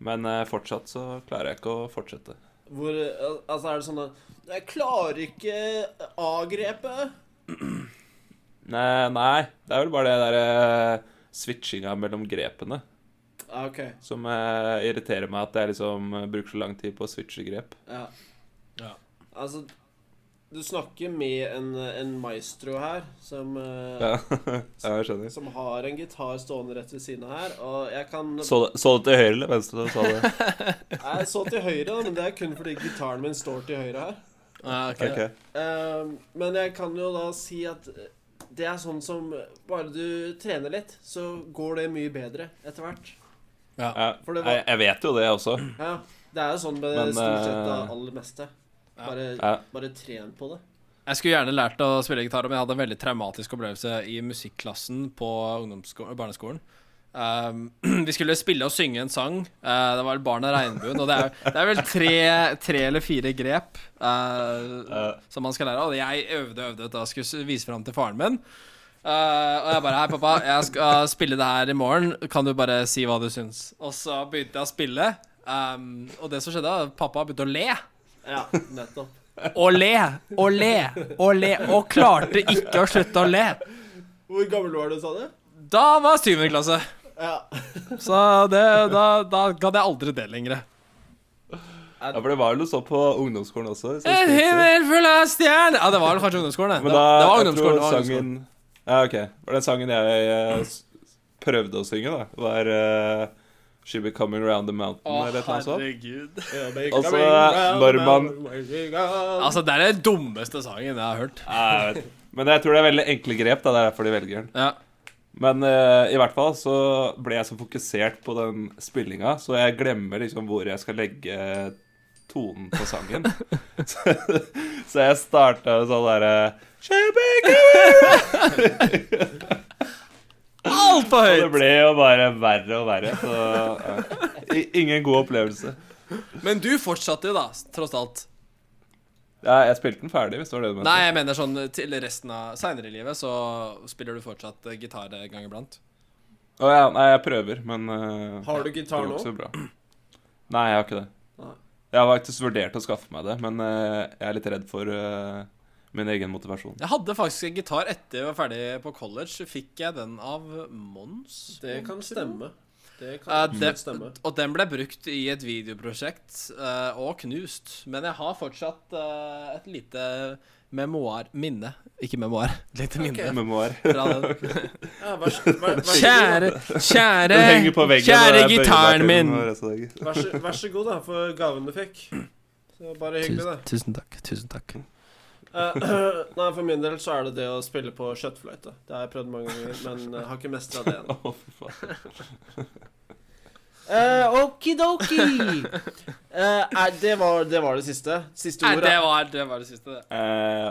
Speaker 4: Men eh, fortsatt så klarer jeg ikke å fortsette.
Speaker 3: Hvor al- Altså, er det sånn at Jeg klarer ikke A-grepet.
Speaker 4: Nei, nei, det er vel bare det derre switchinga mellom grepene
Speaker 3: Ja, OK.
Speaker 4: som eh, irriterer meg, at jeg liksom eh, bruker så lang tid på å switche grep.
Speaker 3: Ja.
Speaker 2: Ja.
Speaker 3: Altså Du snakker med en, en maestro her som, eh,
Speaker 4: Ja, ja jeg skjønner.
Speaker 3: som har en gitar stående rett ved siden av her, og jeg kan
Speaker 4: Så, det- så det til høyre eller venstre? da du Sa det.
Speaker 3: Jeg så til høyre, da, men det er kun fordi gitaren min står til høyre her.
Speaker 2: Ah, ok.
Speaker 4: Ok.
Speaker 3: Ehm, men jeg kan jo da si at det er sånn som Bare du trener litt, så går det mye bedre etter hvert.
Speaker 4: Ja,
Speaker 3: For det var-
Speaker 4: jeg, jeg vet jo det også.
Speaker 3: Ja, det er jo sånn med
Speaker 4: Men,
Speaker 3: stort sett det
Speaker 4: eh,
Speaker 3: aller meste. Bare,
Speaker 4: ja.
Speaker 3: bare tren på det.
Speaker 2: Jeg skulle gjerne lært å spille gitar, men jeg hadde en veldig traumatisk opplevelse i musikklassen på ungdomssko- barneskolen. Um, vi skulle spille og synge en sang. eh, det var vel 'Barn av regnbuen'. Og det er, det er vel tre, tre eller fire grep eh, som man skal lære. Og jeg øvde og øvde da jeg skulle s- vise fram til faren min. Eh, og jeg bare 'Hei, pappa, jeg skal spille det her i morgen. Kan du bare si hva du syns?' Og så begynte jeg å spille, um, og det som skjedde, var at pappa begynte å le.
Speaker 3: Ja, nettopp.
Speaker 2: Og le, og le, og le, og klarte ikke å slutte å le.
Speaker 3: Hvor gammel var du, sa du?
Speaker 2: Da var syvende klasse.
Speaker 3: Ja.
Speaker 2: Så det, da, da gadd jeg aldri det lenger.
Speaker 4: Ja, for det var jo noe sånn på ungdomsskolen også. så
Speaker 2: En
Speaker 4: jeg husker.
Speaker 2: himmel full av stjerner Ja, det var vel kanskje ungdomsskolen, det.
Speaker 4: Men
Speaker 2: det
Speaker 4: da,
Speaker 2: var
Speaker 4: jeg tror
Speaker 2: ungdomsskolen. Det var
Speaker 4: sangen
Speaker 2: ungdomsskolen.
Speaker 4: Ja, ok. Var den sangen jeg eh, s- prøvde å synge, da? Var eh, She Be Coming Round the Mountain eller et eller annet sånt?
Speaker 2: herregud.
Speaker 4: Altså, når man-
Speaker 2: Altså, det er den dummeste sangen jeg har hørt.
Speaker 4: Nei, jeg vet ikke. Men jeg tror det er veldig enkle grep, da. Det er derfor de velger den.
Speaker 2: Ja.
Speaker 4: Men eh, i hvert fall så ble jeg så fokusert på den spillinga, så jeg glemmer liksom hvor jeg skal legge tonen på sangen. så, så jeg starta sånn derre She Be Coming
Speaker 2: Altfor
Speaker 4: Og det
Speaker 2: høyt!
Speaker 4: ble jo bare verre og verre. Så ja. I- ingen god opplevelse.
Speaker 2: Men du fortsatte jo, da, tross alt.
Speaker 4: Ja, jeg spilte den ferdig, hvis det var det du mente.
Speaker 2: Nei, jeg mener sånn til resten av seinere i livet så spiller du fortsatt eh, gitar en gang eh, iblant.
Speaker 4: Å ja, nei, jeg prøver, men eh,
Speaker 3: Har du
Speaker 4: det
Speaker 3: gitar
Speaker 4: går
Speaker 3: nå?
Speaker 4: ikke så bra. Nei, jeg har ikke det.
Speaker 3: Nei.
Speaker 4: Jeg har faktisk vurdert å skaffe meg det, men eh, jeg er litt redd for eh, min egen motivasjon.
Speaker 2: Jeg hadde faktisk en gitar etter jeg var ferdig på college. Fikk jeg den av Mons.
Speaker 3: Det kan stemme. Det
Speaker 2: Eh,
Speaker 3: kan
Speaker 2: den,
Speaker 3: absolutt stemme.
Speaker 2: og den ble brukt i et videoprosjekt eh, og knust. Men jeg har fortsatt eh, et lite memoar Minne. Ikke memoar. Lite minne
Speaker 4: Memoir.
Speaker 2: fra den.
Speaker 3: Ja, vær, så- vær, vær, så god,
Speaker 2: Kjære, kjære,
Speaker 4: Den henger på veggen.
Speaker 2: kjære
Speaker 4: og jeg bøyer meg til
Speaker 2: gitaren
Speaker 4: den
Speaker 2: min!
Speaker 4: og resten av dagen.
Speaker 3: da. vær, så, vær så god, da, for gaven du fikk. Så bare hyggelig, det.
Speaker 2: Tusen, tusen takk. Tusen takk.
Speaker 3: Eh, nei, for min del så er det det å spille på kjøttfløyte. Det har jeg prøvd mange ganger, men eh, har ikke mestra det ennå.
Speaker 4: Å, fy faen.
Speaker 3: Eh, Okidoki! Eh, nei, det var, det var det siste. Siste
Speaker 2: Nei,
Speaker 3: ord.
Speaker 2: det
Speaker 3: da.
Speaker 2: var det, var det siste, det.
Speaker 4: Eh,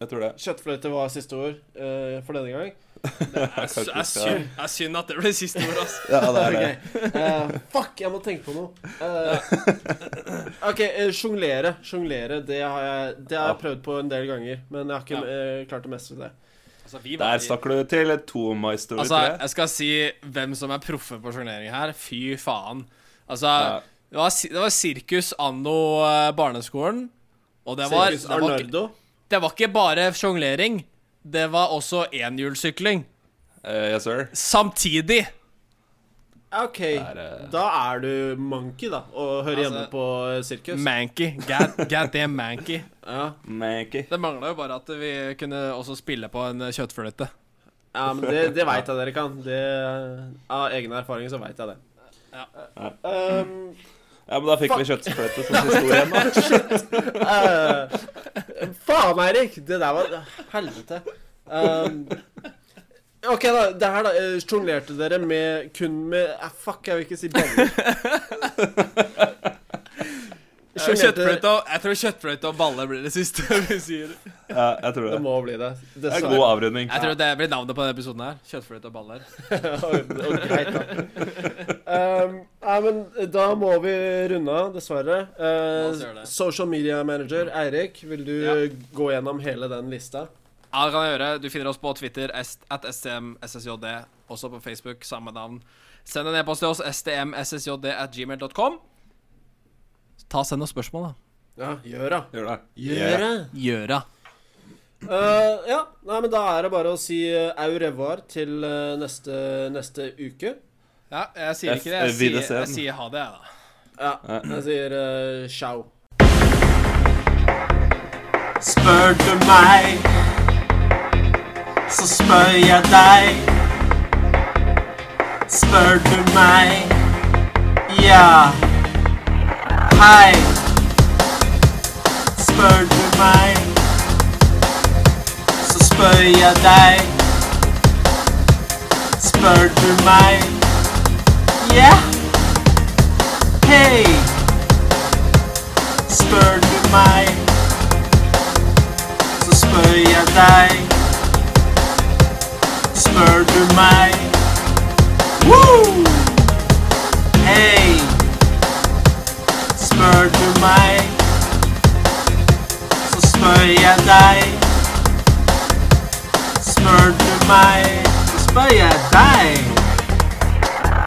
Speaker 4: jeg tror det.
Speaker 3: Kjøttfløyte var siste ord eh, for denne gang.
Speaker 2: Det
Speaker 4: Kanskje vi
Speaker 2: er
Speaker 4: skal-
Speaker 2: synd, det er synd at det ble siste ord, ass.
Speaker 4: Ja, det er det.
Speaker 3: Ok. Eh, fuck, jeg må tenke på noe. Eh, OK, eh, sjonglere. Sjonglere, det har jeg Det har jeg prøvd på en del ganger, men jeg har ikke
Speaker 2: Ja.
Speaker 3: eh, klart å mestre det.
Speaker 2: Altså, vi var
Speaker 4: Der
Speaker 2: i-
Speaker 4: snakker du til to maestro,
Speaker 2: Altså,
Speaker 4: tror jeg.
Speaker 2: jeg skal si hvem som er proffe på sjonglering her. Fy faen. Altså,
Speaker 4: Ja.
Speaker 2: det, var, si- det var sirkus anno eh, barneskolen. Og det var,
Speaker 3: Circus
Speaker 2: det var, ikke-
Speaker 3: Arnardo.
Speaker 2: det var ikke bare sjonglering. Det var også enhjulssykling.
Speaker 4: Eh, yes, sir.
Speaker 2: Samtidig.
Speaker 3: OK,
Speaker 4: eh,
Speaker 3: da er du monkey, da, og hører hjemme
Speaker 2: Altså,
Speaker 3: på eh, sirkus.
Speaker 2: Manky. God, god damn manky.
Speaker 3: Ja.
Speaker 4: Manky.
Speaker 2: Det mangla jo bare at vi kunne også spille på en eh, kjøttfløyte.
Speaker 3: Ja, men det, det veit jeg dere kan. Det, av egen erfaring så veit jeg det.
Speaker 2: Ja.
Speaker 3: Um,
Speaker 4: Ja, men da fikk vi kjøttfløte som siste ord igjen, da.
Speaker 3: eh, faen, Eirik! Det der var Helvete. Um, OK, da. Det her, da. eh, Sjonglerte dere med kun med eh, Fuck, jeg vil ikke si baller. Sjonglerte
Speaker 2: Kjøttfløyte og, jeg tror kjøttfløyte og balle blir det siste vi sier.
Speaker 4: Ja, jeg tror
Speaker 3: Det
Speaker 4: det.
Speaker 3: må bli det.
Speaker 4: Det er god
Speaker 3: Dessverre.
Speaker 4: avrunding.
Speaker 2: Jeg tror det blir navnet på denne episoden her. Kjøttfløyte og baller.
Speaker 3: Og Greit, da. Um, nei, men da må vi runde av, dessverre.
Speaker 2: La oss
Speaker 3: Eh,
Speaker 2: gjøre det. Mm.
Speaker 3: social media manager Eirik, vil du
Speaker 2: Ja.
Speaker 3: eh, gå gjennom hele den lista?
Speaker 2: Ja, det kan jeg gjøre. Du finner oss på Twitter, est- at stmssjd, også på Facebook, samme navn. Send en e-post til oss, stmssjd at gmail.com. Ta og Send oss spørsmål, da.
Speaker 3: Ja, gjør det.
Speaker 4: Gjør det.
Speaker 2: Gjøra.
Speaker 3: Eh, ja, nei, men da er det bare å si eh, au revoir til eh, neste, neste uke.
Speaker 2: Ja, jeg sier ikke det. Jeg
Speaker 4: F-
Speaker 2: sier,
Speaker 4: videseen.
Speaker 2: jeg sier ha det, jeg, da.
Speaker 3: Ja,
Speaker 4: Ja.
Speaker 3: jeg sier eh, ciao.
Speaker 7: Spør du meg, så spør jeg deg. Spør du meg, ja, hei. Spør du meg, så spør jeg deg. Spør du meg, ja, hei. Spør du meg så spør jeg deg. Spør du meg? Woo! Hei! Spør du meg, så spør jeg deg. Spør du meg, så spør jeg deg.